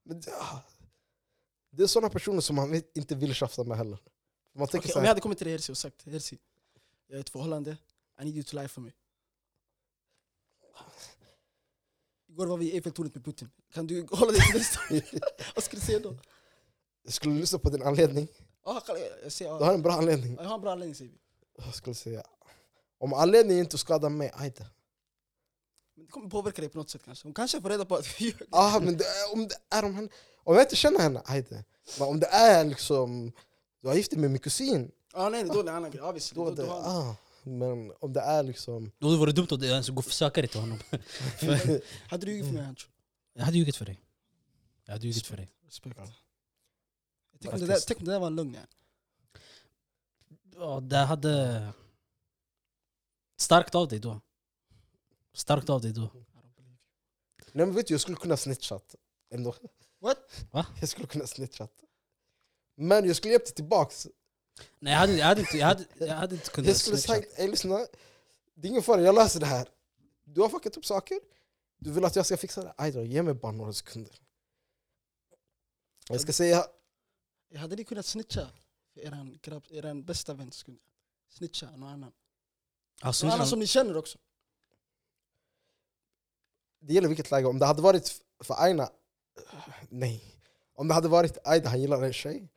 Speaker 2: Men, det- ah. Det är sådana personer som man vet- inte vill tjafsa med heller. Man tänker
Speaker 1: Okej,
Speaker 2: så
Speaker 1: om jag
Speaker 2: här,
Speaker 1: hade kommit till dig Herzi och sagt Herzi, jag är i ett förhållande, I need you to lie for me. Igår var vi i Eiffeltornet med Putin. Kan du hålla dig till den historien? Vad ska du säga då?
Speaker 2: jag skulle lyssna på din anledning.
Speaker 1: Ja, kalla- jag säger,
Speaker 2: Du
Speaker 1: ja.
Speaker 2: har en bra anledning.
Speaker 1: Jag har en bra anledning säger vi.
Speaker 2: Jag skulle säga, om anledningen inte skadar mig, aj då.
Speaker 1: Men det kommer påverka dig på något sätt kanske. Hon kanske får reda på att vi ljög.
Speaker 2: Ah, men det, är- om, det är, om, han, om jag inte känner henne, aj då. Men om det är liksom, du har gift dig med min kusin.
Speaker 1: Ja, nej, då är det en annan grej. Ja, visst.
Speaker 2: Då
Speaker 1: Då,
Speaker 2: det,
Speaker 1: då, har-
Speaker 2: ah, men om det är liksom,
Speaker 3: Då vore det dumt att ens gå söka dig till honom.
Speaker 1: hade du ljugit för mig Hancho?
Speaker 3: Jag hade ljugit för dig. Jag hade ljugit för dig.
Speaker 1: Respekt. Tänk om det där- tänk om det där var en lögn. ja.
Speaker 3: Ja, det hade... Starkt av dig då. Starkt av dig då.
Speaker 2: nej men vet du, jag skulle kunna snitchat ändå.
Speaker 1: What?
Speaker 3: Va?
Speaker 2: Jag skulle kunna snitchat. Men jag skulle hjälpt dig tillbaks.
Speaker 3: Nej, jag hade, jag hade, inte, jag hade, jag hade inte kunnat...
Speaker 2: Jag skulle
Speaker 3: snitcha.
Speaker 2: sagt, ey lyssna, det är ingen fara, jag löser det här. Du har fuckat upp saker, du vill att jag ska fixa det? Aj då, ge mig bara några sekunder. Jag ska säga,
Speaker 1: Hade ni kunnat snitcha för eran, grabb, eran bästa vän? skulle ni Snitcha någon annan. Någon
Speaker 3: Ja,
Speaker 1: annan
Speaker 3: snitcha.
Speaker 1: som ni känner också.
Speaker 2: det gäller vilket läge, om det hade varit f- för Aina, eh, nej. Om det hade varit Aida, han gillar en tjej,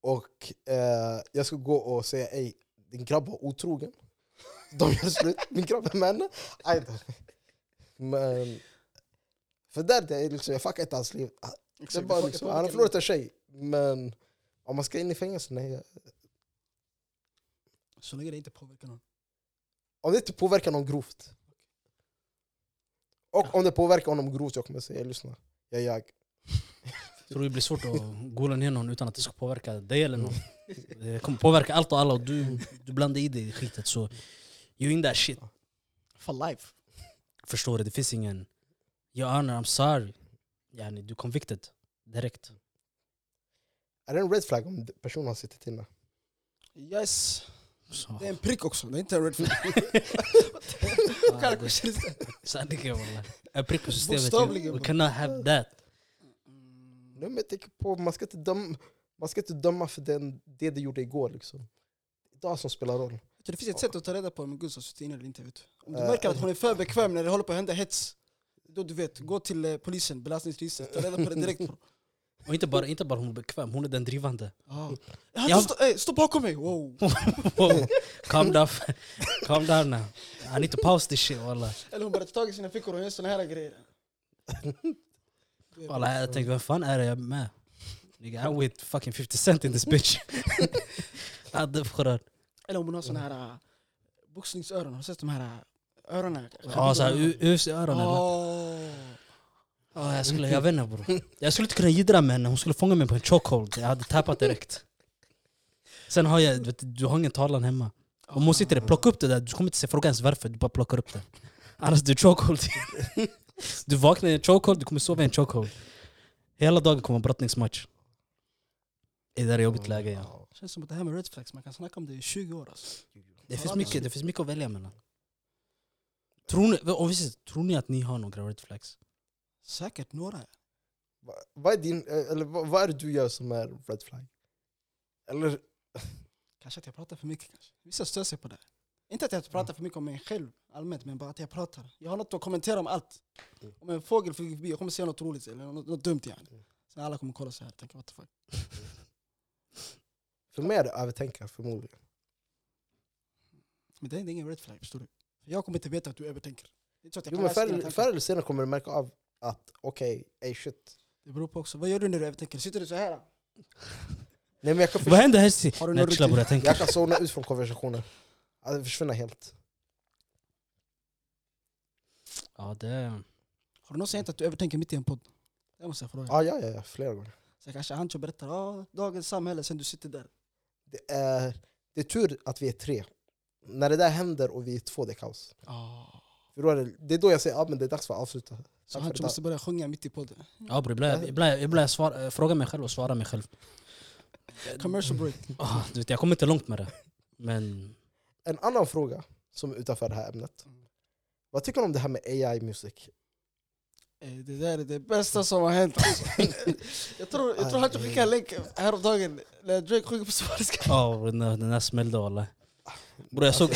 Speaker 2: och eh, jag ska gå och säga ey, din grabb var otrogen. De gör slut, min grabb är med henne. Aj då. Men, för där, det är liksom, jag fuckar inte hans liv. Det är bara liksom, han har förlorat en tjej, men om man ska in i fängelse, nej.
Speaker 1: Så länge det inte påverkar någon.
Speaker 2: Om det inte påverkar någon grovt. Och om det påverkar honom grovt, jag kommer säga lyssna, jag är jag.
Speaker 3: Tror det blir svårt att gola ner någon utan att det ska påverka dig eller någon. Det kommer påverka allt och alla och du, du blandar i dig i skitet så... You in that shit.
Speaker 1: For life.
Speaker 3: Förstår du? Det finns ingen... Your honor, I'm sorry. Yani, du är convicted. Direkt.
Speaker 2: Är det en red flag om personen har suttit inne?
Speaker 1: Yes.
Speaker 3: Så.
Speaker 1: Det är en prick också, det är inte en red flag.
Speaker 3: Ah,
Speaker 1: Kalla
Speaker 3: det-
Speaker 1: kurser istället.
Speaker 3: Sanningen wallah. Jag prickar systemet.
Speaker 1: Bokstavligen,
Speaker 3: We
Speaker 1: bro.
Speaker 3: cannot have that.
Speaker 1: Mm.
Speaker 2: Nej, men jag tänker på, man ska inte döma, man ska inte döma för den, det du gjorde igår. Liksom. Det är det som spelar roll.
Speaker 1: Så Det finns ett sätt att ta reda på om en gud har suttit inne eller inte. Vet du. Om du
Speaker 2: Eh,
Speaker 1: märker att hon är för bekväm när det håller på att hända hets, då du vet, gå till eh, polisen, belastningsregistret, ta reda på det direkt. bro.
Speaker 3: Och inte bara, inte bara hon är bekväm, hon är den drivande.
Speaker 1: Ah. Han
Speaker 3: Jag-
Speaker 1: Stå, eh, stå bakom mig! Wow.
Speaker 3: Wow. Calm down. Calm down now. I need to pause this shit wallah.
Speaker 1: Eller hon börjar ta tag i sina fickor och gör såna här grejer.
Speaker 3: Wallah jag tänkte, vem fan är det jag är med? Nigga, I'm with fucking 50 cent in this bitch. Adde förrör.
Speaker 1: Eller om hon har såna här eh, boxningsöron, har du sett de här eh, öronen?
Speaker 3: Ja såhär UFC-öron eller?
Speaker 1: Åh.
Speaker 3: Ja, jag, skulle, jag vet inte bror. Jag skulle inte kunna jiddra med henne, hon skulle fånga mig på en chokehold. Jag hade tappat direkt. Sen har jag, vet, du, du har ingen talan hemma. Om hon sitter där, plocka upp det där. Du kommer inte se frågan ens varför, du bara plockar upp det. Annars du är chokehold. Du vaknar i en chokehold, du kommer sova i en chokehold. Hela dagen kommer en brottningsmatch. Det där är jobbigt läge ja.
Speaker 1: Känns som att det här med red flags, man kan snacka om det i 20 år alltså.
Speaker 3: Det finns mycket, det finns mycket att välja mellan. Tror ni, och visst, tror ni att ni har några red flags?
Speaker 1: Säkert några.
Speaker 2: Va- Vad är, din, eh, eller vad, vad är det du gör som är red flag? Eller,
Speaker 1: Kanske att jag pratar för mycket kanske. Vissa stör sig på det. Inte att jag pratar för mycket om mig själv allmänt, men bara att jag pratar. Jag har något att kommentera om allt.
Speaker 2: Mm.
Speaker 1: Om en fågel flyger förbi, jag kommer säga något roligt eller något, något dumt igen. Sen alla kommer kolla så här och tänka what the fuck.
Speaker 2: för mig är det övertänka förmodligen.
Speaker 1: Men det är ingen red flag, förstår du? Jag kommer inte veta att du övertänker. Det, är inte så att jag
Speaker 2: Jo,
Speaker 1: kan
Speaker 2: men
Speaker 1: läsa dina
Speaker 2: förr,
Speaker 1: tankar.
Speaker 2: förr eller senare kommer du märka av att okej, ey shit.
Speaker 1: det beror på också, vad gör du när du övertänker? Sitter du så här?
Speaker 2: Nej, men jag, kan
Speaker 3: Vad
Speaker 2: förs-
Speaker 3: händer Hessi?
Speaker 1: Har du
Speaker 3: Nej
Speaker 1: någon
Speaker 3: chilla bror, jag tänker.
Speaker 2: jag kan zona ut från konversationer. Alltså, försvinna helt.
Speaker 3: Ja, det,
Speaker 1: Har du någonsin hänt att du övertänker mitt i en podd? Det måste jag fråga.
Speaker 3: Mm.
Speaker 2: Ah, ja, ja, ja, flera gånger.
Speaker 1: Så kanske Hancho berättar, ah, dagens samhälle, sen du sitter där.
Speaker 2: Det är, det är tur att vi är tre. När det där händer och vi är två, det är kaos.
Speaker 1: Ah.
Speaker 2: För då är det, det är då jag säger att ah, men det är dags för att avsluta.
Speaker 1: Så
Speaker 2: för
Speaker 1: Hancho
Speaker 2: det.
Speaker 1: måste börja sjunga mitt i podden.
Speaker 3: ja bror, ibland, ibland, ibland jag svar, eh, frågar mig själv och svarar mig själv.
Speaker 1: Commercial break.
Speaker 3: Ah, du vet, jag kommer inte långt med det. Men
Speaker 2: En annan
Speaker 1: Mm.
Speaker 2: fråga som är utanför det här ämnet. Vad tycker du om det här med AI-musik?
Speaker 1: Eh, Det där är det bästa som har hänt alltså. Jag tror, jag tror han skickade en länk häromdagen när Drake sjunger på spanska.
Speaker 3: Ja, den där- den där smällde walla. Bror jag såg,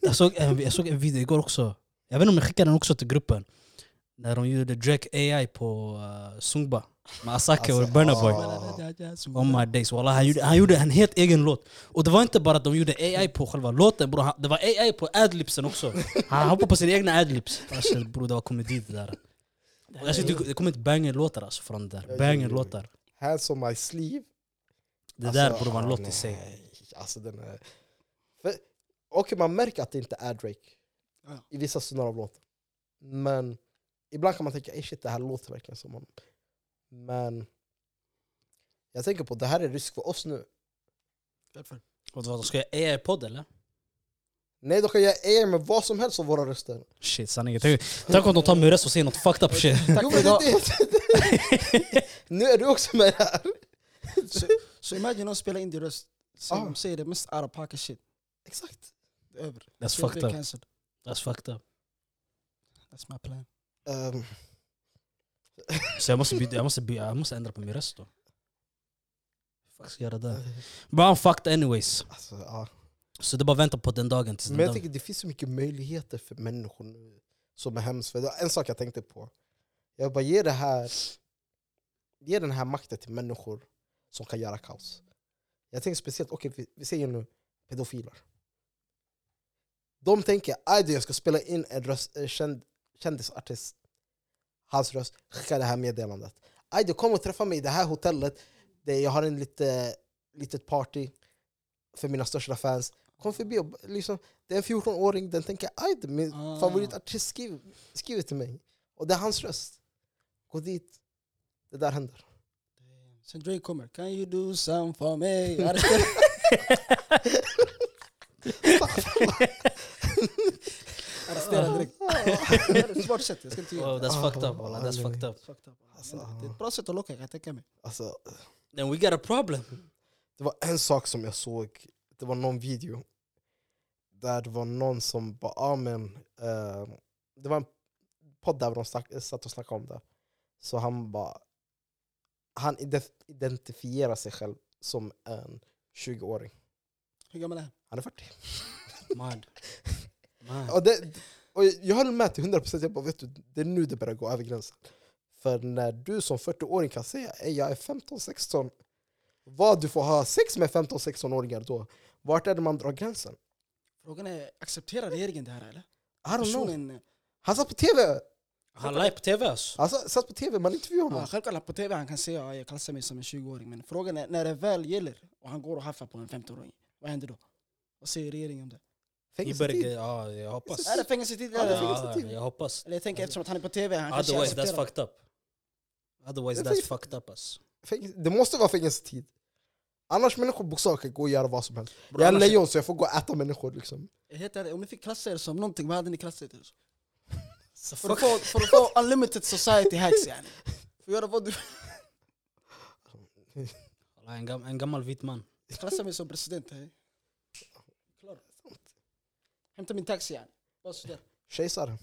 Speaker 3: jag, såg en, jag såg en video igår också. Jag vet inte om jag skickade den också till gruppen. När de gjorde Drake AI på uh, Sungba med Asake och
Speaker 2: Alltså,
Speaker 3: Burna Boy.
Speaker 2: ah.
Speaker 3: Oh my days, walla. Han gjorde, han gjorde en helt egen låt. Och det var inte bara att de gjorde AI på själva låten bror. Han- Det var AI på adlibsen också. Han hoppade på sina egna adlibs. Alltså, bror det var komedi det där. Och Alltså, det det kom ut banger-låtar alltså från det där.
Speaker 2: Ja,
Speaker 3: Banger-låtar.
Speaker 2: Hands on my sleeve.
Speaker 3: Det där
Speaker 2: Alltså,
Speaker 3: borde vara en
Speaker 2: ah,
Speaker 3: låt i
Speaker 2: nej.
Speaker 3: sig.
Speaker 2: Alltså den är... För, okej, man märker att det inte är Drake
Speaker 1: Ja.
Speaker 2: i vissa stunder av låten. Men ibland kan man tänka, "Ey, shit det här låter verkligen som honom. Men jag tänker på, det här är risk för oss nu.
Speaker 3: Och vad, ska jag AI-podd eller?
Speaker 2: Nej, de kan göra AI med vad som helst av våra röster.
Speaker 3: Shit sanningen. Tänk, tänk om de tar min röst och säger något fucked up shit.
Speaker 1: Tack
Speaker 2: Jo,
Speaker 1: för
Speaker 2: men
Speaker 1: idag.
Speaker 2: det, det- nu är du också med här.
Speaker 1: Så, så imagine de spelar in din röst. Sen
Speaker 2: Ah.
Speaker 1: de säger det mest out of pocket shit.
Speaker 2: Exakt.
Speaker 1: Det är över.
Speaker 3: That's
Speaker 1: Det- det är
Speaker 3: fucked up.
Speaker 1: cancelled.
Speaker 3: That's fucked up.
Speaker 1: That's my plan.
Speaker 2: Ehm,
Speaker 3: Så jag måste, byta, jag, måste byta, jag måste ändra på min röst då. Fuck ska jag göra det? But I'm fucked anyways.
Speaker 2: alltså, ja.
Speaker 3: Så det är bara att vänta på den dagen tills den
Speaker 2: Men jag
Speaker 3: dagen.
Speaker 2: tänker det finns så mycket möjligheter för människor nu som är hemskt. För det var en sak jag tänkte på. Jag bara, ge, det här, ge den här makten till människor som kan göra kaos. Jag tänker speciellt, okej vi, vi säger nu pedofiler. De tänker, "Aj då, jag ska spela in en, röst, en känd, kändisartist, hans röst, skicka det här meddelandet. Aj då, kom och träffa mig i det här hotellet, det, jag har en lite, litet party för mina största fans. Kom förbi och b- liksom, det är en 14-åring, den tänker aj då, min
Speaker 1: Ah.
Speaker 2: favoritartist skriver, skriver till mig. Och det är hans röst. Gå dit, det där händer.
Speaker 1: Sen Drake kommer. Can you do something for me? Ja, det spelar- Arrestera direkt. Det är ett smart sätt, jag ska inte
Speaker 3: Oh,
Speaker 1: göra det.
Speaker 3: that's
Speaker 2: Ah,
Speaker 3: fucked up walla, that's
Speaker 2: nej.
Speaker 3: fucked up.
Speaker 1: Fucked up.
Speaker 2: Alltså,
Speaker 1: Men Det är ett bra sätt att locka, kan jag tänka mig.
Speaker 2: Alltså,
Speaker 3: Then we got a problem.
Speaker 2: Det var en sak som jag såg, det var någon video där det var någon som bara, ah, men, eh, det var en podd där de snack, satt och snackade om det. Så han bara, han ident- identifierar sig själv som en 20-åring.
Speaker 1: Hur gammal är han?
Speaker 2: Han är 40.
Speaker 3: Man. Man.
Speaker 2: Och, det, och jag höll med till 100%, jag bara, vet du, det är nu det börjar gå över gränsen. För när du som 40-åring kan säga, "Ey, jag är 15-16, vad du får ha sex med 15-16-åringar då, vart är det man drar gränsen?
Speaker 1: Frågan är, accepterar regeringen det här eller?
Speaker 2: I don't know.
Speaker 1: Personen,
Speaker 2: Han satt på tv!
Speaker 3: Han live på tv alltså.
Speaker 2: Han satt, satt på tv, man intervjuade honom.
Speaker 3: Ah,
Speaker 1: ja, självklart på tv han kan säga att jag klassar mig som en 20-åring. Men frågan är, när det väl gäller och han går och haffar på en 15-åring, vad händer då? Vad säger regeringen om det?
Speaker 3: Iberg,
Speaker 2: Fängelsetid.
Speaker 3: ja jag hoppas.
Speaker 1: Är det fängelsetid?
Speaker 2: Ja, det är
Speaker 1: eller?
Speaker 3: Ja,
Speaker 2: fängelsetid.
Speaker 3: jag hoppas.
Speaker 1: Eller jag tänker eftersom att han är på tv, han kanske
Speaker 3: Otherwise that's
Speaker 1: accepterar.
Speaker 3: fucked up. Otherwise
Speaker 2: Det
Speaker 3: that's
Speaker 2: finns-
Speaker 3: fucked up alltså.
Speaker 2: Fängelse- Det måste vara fängelsetid. Annars människor bokstavligen kan gå och göra vad som helst.
Speaker 3: Bro,
Speaker 2: Jag är
Speaker 3: annars-
Speaker 2: lejon så jag får gå och äta människor liksom.
Speaker 1: Jag heter det, om ni fick klassa er som någonting, vad hade ni klassat er som?
Speaker 3: Så
Speaker 1: För att få, för att få unlimited society hacks yani. För att göra vad du
Speaker 3: Walla, En, gam, en gammal vit man.
Speaker 1: Klassa mig som president. hej. Klar. Hämta min taxi yani. Bara sådär.
Speaker 2: Kejsaren.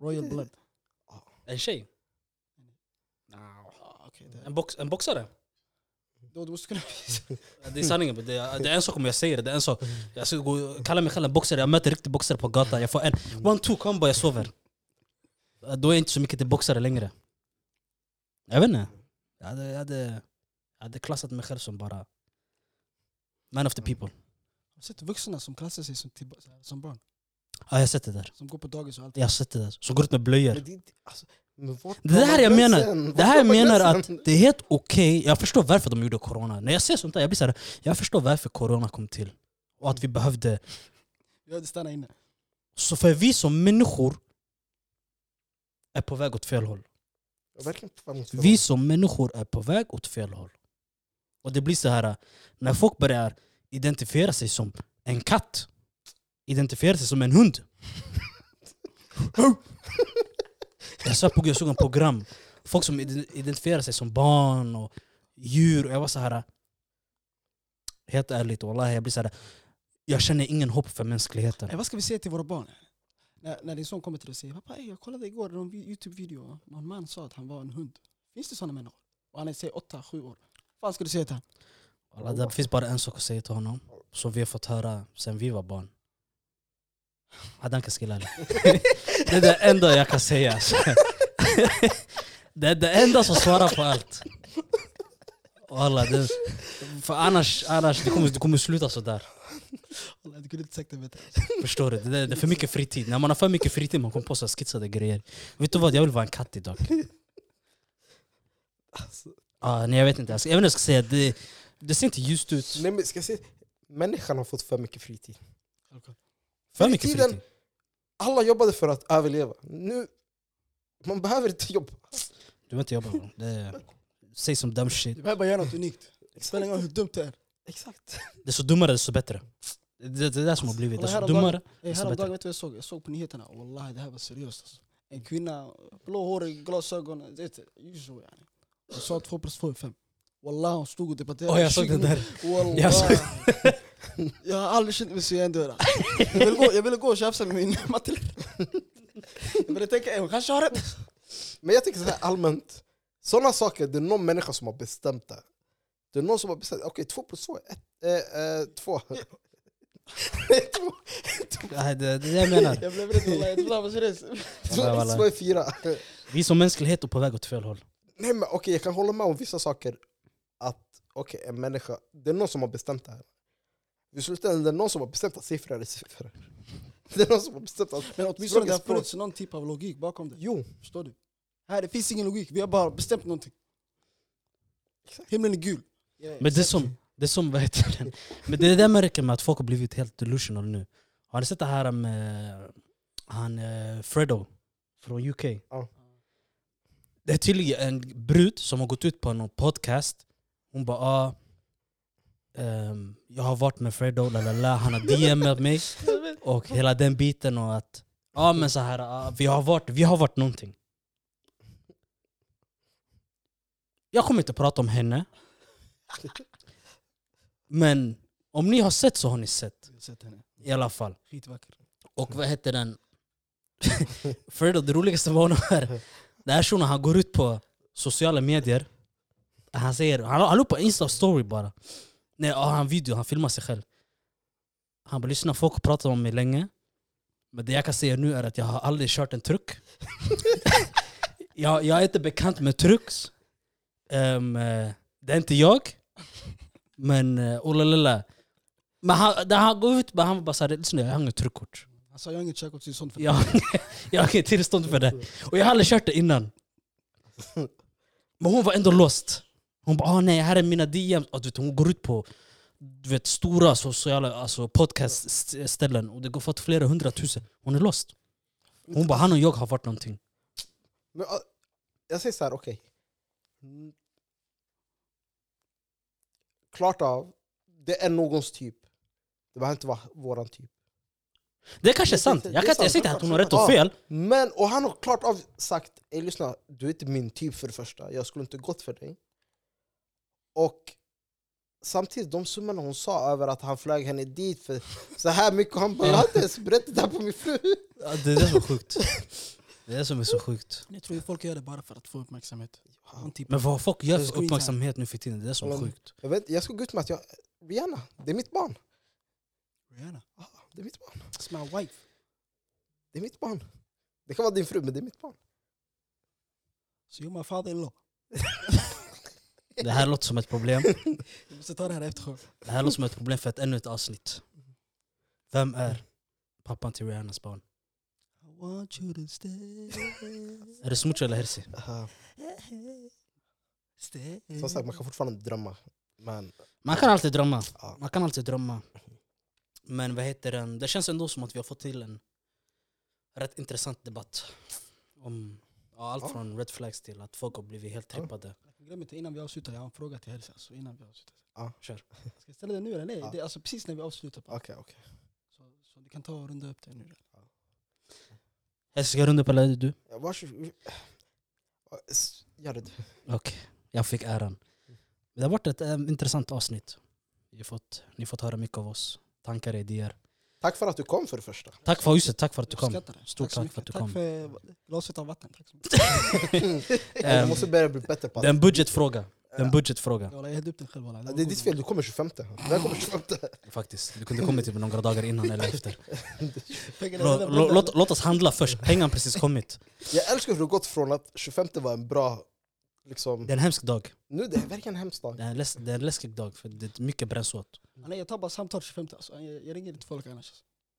Speaker 1: Royal blood.
Speaker 3: En tjej.
Speaker 1: Ah, okej, det-
Speaker 3: En, box, en boxare.
Speaker 1: Då du måste kunna visa.
Speaker 3: Det är sanningen. Det är, det är en sak om jag säger det. det är en sak. Jag ska gå, kalla mig själv en boxare. Jag möter riktig boxare på gatan. Jag får en one two combo, jag sover. Då är jag inte så mycket till boxare längre. Jag vet inte. Jag hade, jag hade, jag hade klassat mig själv som bara man of the people.
Speaker 1: Har du sett vuxna som klassar sig som, till, som barn?
Speaker 3: Ja, jag har sett det där.
Speaker 1: Som går på dagis och allt.
Speaker 3: Jag har sett det där. Som går ut med blöjor.
Speaker 2: Men det, är inte- alltså, men vart
Speaker 3: Det här
Speaker 2: drar
Speaker 3: jag
Speaker 2: man
Speaker 3: menar.
Speaker 2: gränsen? Vart
Speaker 3: Det här jag
Speaker 2: drar man
Speaker 3: menar att
Speaker 2: gränsen?
Speaker 3: det är helt okej. Jag förstår varför de gjorde corona. När jag ser sånt där, jag blir såhär, jag förstår varför corona kom till. Och att vi behövde
Speaker 1: Jag hade stannat inne.
Speaker 3: Så för vi som människor är på väg åt fel håll.
Speaker 2: Jag är verkligen på väg mot
Speaker 3: Vi som människor är på väg åt fel håll. Och det blir så här, när folk börjar identifiera sig som en katt, identifiera sig som en hund. jag, satt på, jag såg en program, folk som ide- identifierar sig som barn och djur. Och jag var så här, helt ärligt, wallahi, jag blir så här, jag känner ingen hopp för mänskligheten.
Speaker 1: Eh, vad ska vi säga till våra barn? När, när din son kommer till dig och säger pappa ey, jag kollade igår en Youtube-video. Någon man sa att han var en hund. Finns det sådana människor? Och han är säg 8-7 år. Vad ska du säga till honom?
Speaker 3: Alla, det finns bara en sak att säga till honom, som vi har fått höra sen vi var barn. Adanka skillade. Det är det enda jag kan säga. alltså. Det är det enda som svarar på allt. Alla, det, för annars, annars det kommer det kommer sluta sådär.
Speaker 1: Wallah, Du kunde inte sagt det bättre.
Speaker 3: Förstår du? Det, där- det är för mycket fritid. När man har för mycket fritid man kommer på så här skitsade grejer. Vet du vad, jag vill vara en katt idag.
Speaker 2: Alltså.
Speaker 3: Ah, nej, jag vet inte, jag ska- jag vet inte vad jag ska säga. Det, det ser inte ljust ut.
Speaker 2: Nej, men ska jag säga, människan har fått för mycket fritid.
Speaker 3: För
Speaker 2: i
Speaker 3: mycket
Speaker 2: tiden-
Speaker 3: fritid.
Speaker 2: Alla jobbade för att överleva. Nu, man behöver inte jobba.
Speaker 3: Du behöver inte jobba bro. Det är- Säg som dumb shit.
Speaker 1: Du behöver bara göra något unikt. Det spelar ingen roll hur dumt det är.
Speaker 2: Exakt.
Speaker 3: Desto dummare desto bättre. Det det- det är det som har blivit.
Speaker 1: Kolla
Speaker 3: Desto
Speaker 1: häromdagen-
Speaker 3: dummare.
Speaker 1: Ey,
Speaker 3: Desto
Speaker 1: Häromdagen,
Speaker 3: bättre.
Speaker 1: vet du vad jag såg? Jag såg på nyheterna. Wallahi, det här var seriöst. Alltså. En kvinna, blåhårig, glasögon. Du vet, usual yani. Hon sa två plus två är fem. Wallahi, hon stod och debatterade.
Speaker 3: Åh jag såg det där.
Speaker 1: Wallah.
Speaker 3: Jag
Speaker 1: Jag,
Speaker 3: såg-
Speaker 1: har aldrig känt mig så jämndöd. Jag ville gå, jag ville gå och tjafsa med min mattelärare. Jag började tänka, "Eh, hon kanske har rätt.
Speaker 2: Men jag tänker så här allmänt. Sådana saker, det är någon människa som har bestämt det. Det är någon som har bestämt, okej två plus två är ett, eh, eh, två. Nej, två.
Speaker 3: Nej, Det det är det jag menar.
Speaker 1: Jag blev rädd wallah, jag trodde han var seriös.
Speaker 2: Två
Speaker 3: Alla,
Speaker 2: plus
Speaker 3: alla.
Speaker 2: två är fyra.
Speaker 3: Vi som mänsklighet är på väg åt fel håll.
Speaker 2: Nej men okej, jag kan hålla med om vissa saker. Att okej, en människa, det är någon som har bestämt det här. I slutändan det är någon som har bestämt att siffror är siffror. Det är någon som har bestämt att...
Speaker 1: Men åtminstone det har
Speaker 2: språk är
Speaker 1: funnits någon typ av logik bakom det.
Speaker 2: Jo,
Speaker 1: Förstår du? Här, det finns ingen logik. Vi har bara bestämt någonting. Himlen är gul.
Speaker 3: Men det är som, det är som vad heter den? Men det är det jag märker med att folk har blivit helt delusional nu. Har ni sett det här med han eh, Fredo från UK?
Speaker 2: Ja.
Speaker 3: Det är tydligen en brud som har gått ut på någon podcast. Hon bara ah, ehm, jag har varit med Fredo, la, la, la. han har DMat mig och hela den biten och att ja men så här, ah, vi, har varit, vi har varit någonting. Jag kommer inte prata om henne. Men om ni har sett så har ni sett.
Speaker 1: Jag har sett henne.
Speaker 3: I alla fall.
Speaker 1: Skitvacker.
Speaker 3: Och vad heter den? Fredo, det roligaste var nog här. Den här shunon han går ut på sociala medier. Han säger, han han la upp på insta story bara. Nej, ja, han video, han filmar sig själv. Han bara lyssna, folk pratar om mig länge. Men det jag kan säga nu är att jag har aldrig kört en truck. jag, jag är inte bekant med trucks. Ehm, eh, det är inte jag. Men uh, oh la la la. Men han, där han går ut, men han bara såhär, lyssna jag har inget truckkort.
Speaker 1: Han sa Alltså, jag har inget körkort, så det är sånt för
Speaker 3: Jag, jag har inget tillstånd för det. Och jag har aldrig kört det innan. Men hon var ändå lost. Hon bara, ah, nej, här är mina DM. Och du vet, hon går ut på du vet, stora sociala alltså podcastställen och det går fått flera hundratusen. Hon är lost. Hon bara, han och jag har varit någonting.
Speaker 2: Men, ah, jag säger så här, okej. Mm. Klart av, det är någons typ. Det behöver inte vara våran typ.
Speaker 3: Det kanske är sant. Jag, kan, inte- jag säger inte att hon har rätt och fel.
Speaker 2: Men, och han har klart av sagt, Ey, lyssna, du är inte min typ för det första. Jag skulle inte gått för dig. Och samtidigt, de summorna hon sa över att han flög henne dit för så här mycket, och han bara, jag har inte ens berättat det här på min fru.
Speaker 3: Ja, Det är det som är sjukt. Det är det som är så sjukt.
Speaker 1: Jag tror ju folk gör det bara för att få uppmärksamhet. Någon typ.
Speaker 3: Men vad folk gör
Speaker 1: Det är
Speaker 3: för
Speaker 1: skit.
Speaker 3: uppmärksamhet nu för tiden, det är det som är sjukt.
Speaker 2: Jag, vet, jag ska gå ut med att jag, Rihanna, det är mitt barn.
Speaker 1: Rihanna.
Speaker 2: Ah, Det är mitt barn.
Speaker 1: It's my wife.
Speaker 2: Det är mitt barn. Det kan vara din fru, men det är mitt barn.
Speaker 1: So you're my father in law.
Speaker 3: Det här låter som ett problem.
Speaker 1: Jag måste ta det här efter show.
Speaker 3: Det här låter som ett problem för ett ännu ett avsnitt. Vem är pappan till Rihannas barn?
Speaker 1: I want you to stay.
Speaker 3: Är det Smucho eller Herzi?
Speaker 1: Stay.
Speaker 2: Som sagt, man kan fortfarande drömma. Men
Speaker 3: Man kan alltid drömma.
Speaker 2: Ja.
Speaker 3: Man kan alltid drömma. Men vad heter den? Det känns ändå som att vi har fått till en rätt intressant debatt. Om ja, allt
Speaker 2: Ja.
Speaker 3: från red flags till att folk har blivit helt
Speaker 2: Ja.
Speaker 3: trippade.
Speaker 1: Glöm inte, innan vi avslutar, jag har en fråga till Hälsa. Så innan vi avslutar.
Speaker 2: Ja,
Speaker 3: kör.
Speaker 1: Ska jag ställa den nu eller? Nej,
Speaker 2: Ja.
Speaker 1: det är alltså precis när vi avslutar. bara.
Speaker 2: okej, okej.
Speaker 1: Så, så du kan ta och runda upp det nu.
Speaker 3: Herzi, ska jag runda på eller är det du?
Speaker 2: Ja, varsågod. S- Gör det du.
Speaker 3: Okej, jag fick äran. Det har varit ett eh, intressant avsnitt. Ni har fått, ni har fått höra mycket av oss. Tankar, idéer.
Speaker 2: Tack för att du kom för det första.
Speaker 3: Tack för huset, tack för att du kom.
Speaker 1: Uppskattar det.
Speaker 3: Stort
Speaker 1: så
Speaker 3: tack för att du
Speaker 1: mycket.
Speaker 3: kom.
Speaker 1: Tack för glaset av vatten. Tack så mycket.
Speaker 2: Jag
Speaker 3: Ehm,
Speaker 2: måste börja bli bättre på
Speaker 3: Det är en budgetfråga. Det är en budgetfråga
Speaker 1: Jag hällde upp den själv. walla.
Speaker 2: Ja, Det är ditt fel, du kommer 25. Vem kommer 25?
Speaker 3: faktiskt. Du kunde kommit typ några dagar innan eller efter.
Speaker 1: Pengarna
Speaker 3: Lå-
Speaker 1: redan
Speaker 3: lå-
Speaker 1: brända.
Speaker 3: Låt, låt oss handla först. Pengarna har precis kommit.
Speaker 2: Jag älskar hur du har gått från att 25 var en bra...
Speaker 3: Det
Speaker 2: Liksom,
Speaker 3: är en hemsk dag.
Speaker 2: nu det är verkligen en hemsk dag.
Speaker 3: Det är en, läs- det är en läskig dag för det är mycket bränns åt.
Speaker 1: Ah, Nej, jag tar bara samtal 25 alltså. jag, jag ringer inte folk annars.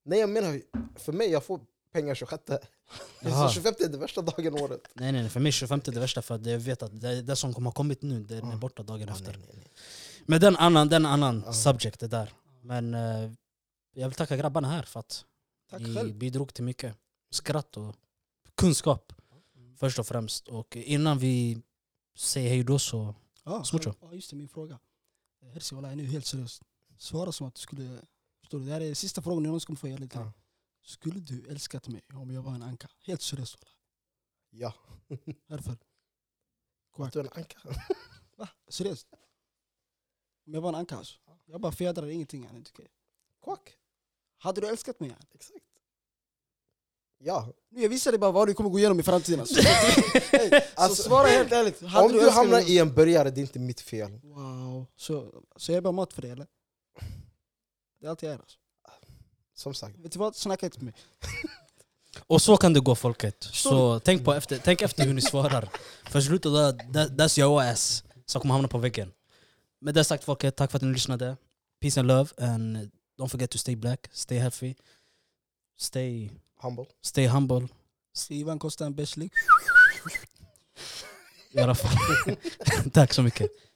Speaker 2: Nej jag menar, för mig, jag får pengar 26.
Speaker 3: Jaha.
Speaker 2: Så 25 är den värsta dagen året.
Speaker 3: Nej, nej, nej, för mig 25 är det värsta för att jag vet att det, det som kommer ha kommit nu, det är
Speaker 2: Ja.
Speaker 3: borta dagen
Speaker 2: Ja,
Speaker 3: efter.
Speaker 2: nej, nej, nej.
Speaker 3: Men den annan, den annan
Speaker 2: Ja.
Speaker 3: subject det där. Men eh, jag vill tacka grabbarna här för att
Speaker 1: Tack
Speaker 3: ni
Speaker 1: själv.
Speaker 3: bidrog till mycket skratt och kunskap först och främst. Och innan vi säger hej då så
Speaker 2: Ah.
Speaker 1: Ja,
Speaker 3: Smucho.
Speaker 1: Ja, just det, min fråga. Herzi, walla, nu helt seriöst. Svara som att du skulle... Förstår du? Det här är sista frågan jag någonsin kommer få göra lite.
Speaker 2: Ja.
Speaker 1: Skulle du älskat mig om jag var en anka? Helt seriöst. walla.
Speaker 2: Ja,
Speaker 1: Varför? Quack.
Speaker 2: du är en anka.
Speaker 1: Va? Seriöst? Om jag var en anka alltså. Jag bara fjädrar ingenting. yani, tycker jag.
Speaker 2: Quack.
Speaker 1: Hade du älskat mig? yani?
Speaker 2: Exakt. Ja.
Speaker 1: Nu, jag visar dig bara vad du kommer gå igenom i framtiden. Alltså.
Speaker 2: Alltså,
Speaker 1: så svara helt ärligt. Hade
Speaker 2: Om du
Speaker 1: älskat
Speaker 2: hamnar
Speaker 1: mig-
Speaker 2: i en börjare, det är inte mitt fel.
Speaker 1: Wow. Så, så jag är bara mat för dig eller? Det är allt jag är alltså.
Speaker 2: Som sagt.
Speaker 1: Vet du vad? Snacka inte med mig.
Speaker 3: Och så kan det gå folket.
Speaker 1: Förstår
Speaker 3: Så tänk, på efter, tänk efter hur ni svarar. För slutet där, that, that's your ass som kommer hamna på väggen. Med det sagt folket, tack för att ni lyssnade. Peace and love and don't forget to stay black, stay healthy, stay,
Speaker 2: Humble.
Speaker 3: stay humble.
Speaker 1: Ivan kostar en bärslik.
Speaker 3: I alla fall. tack så mycket.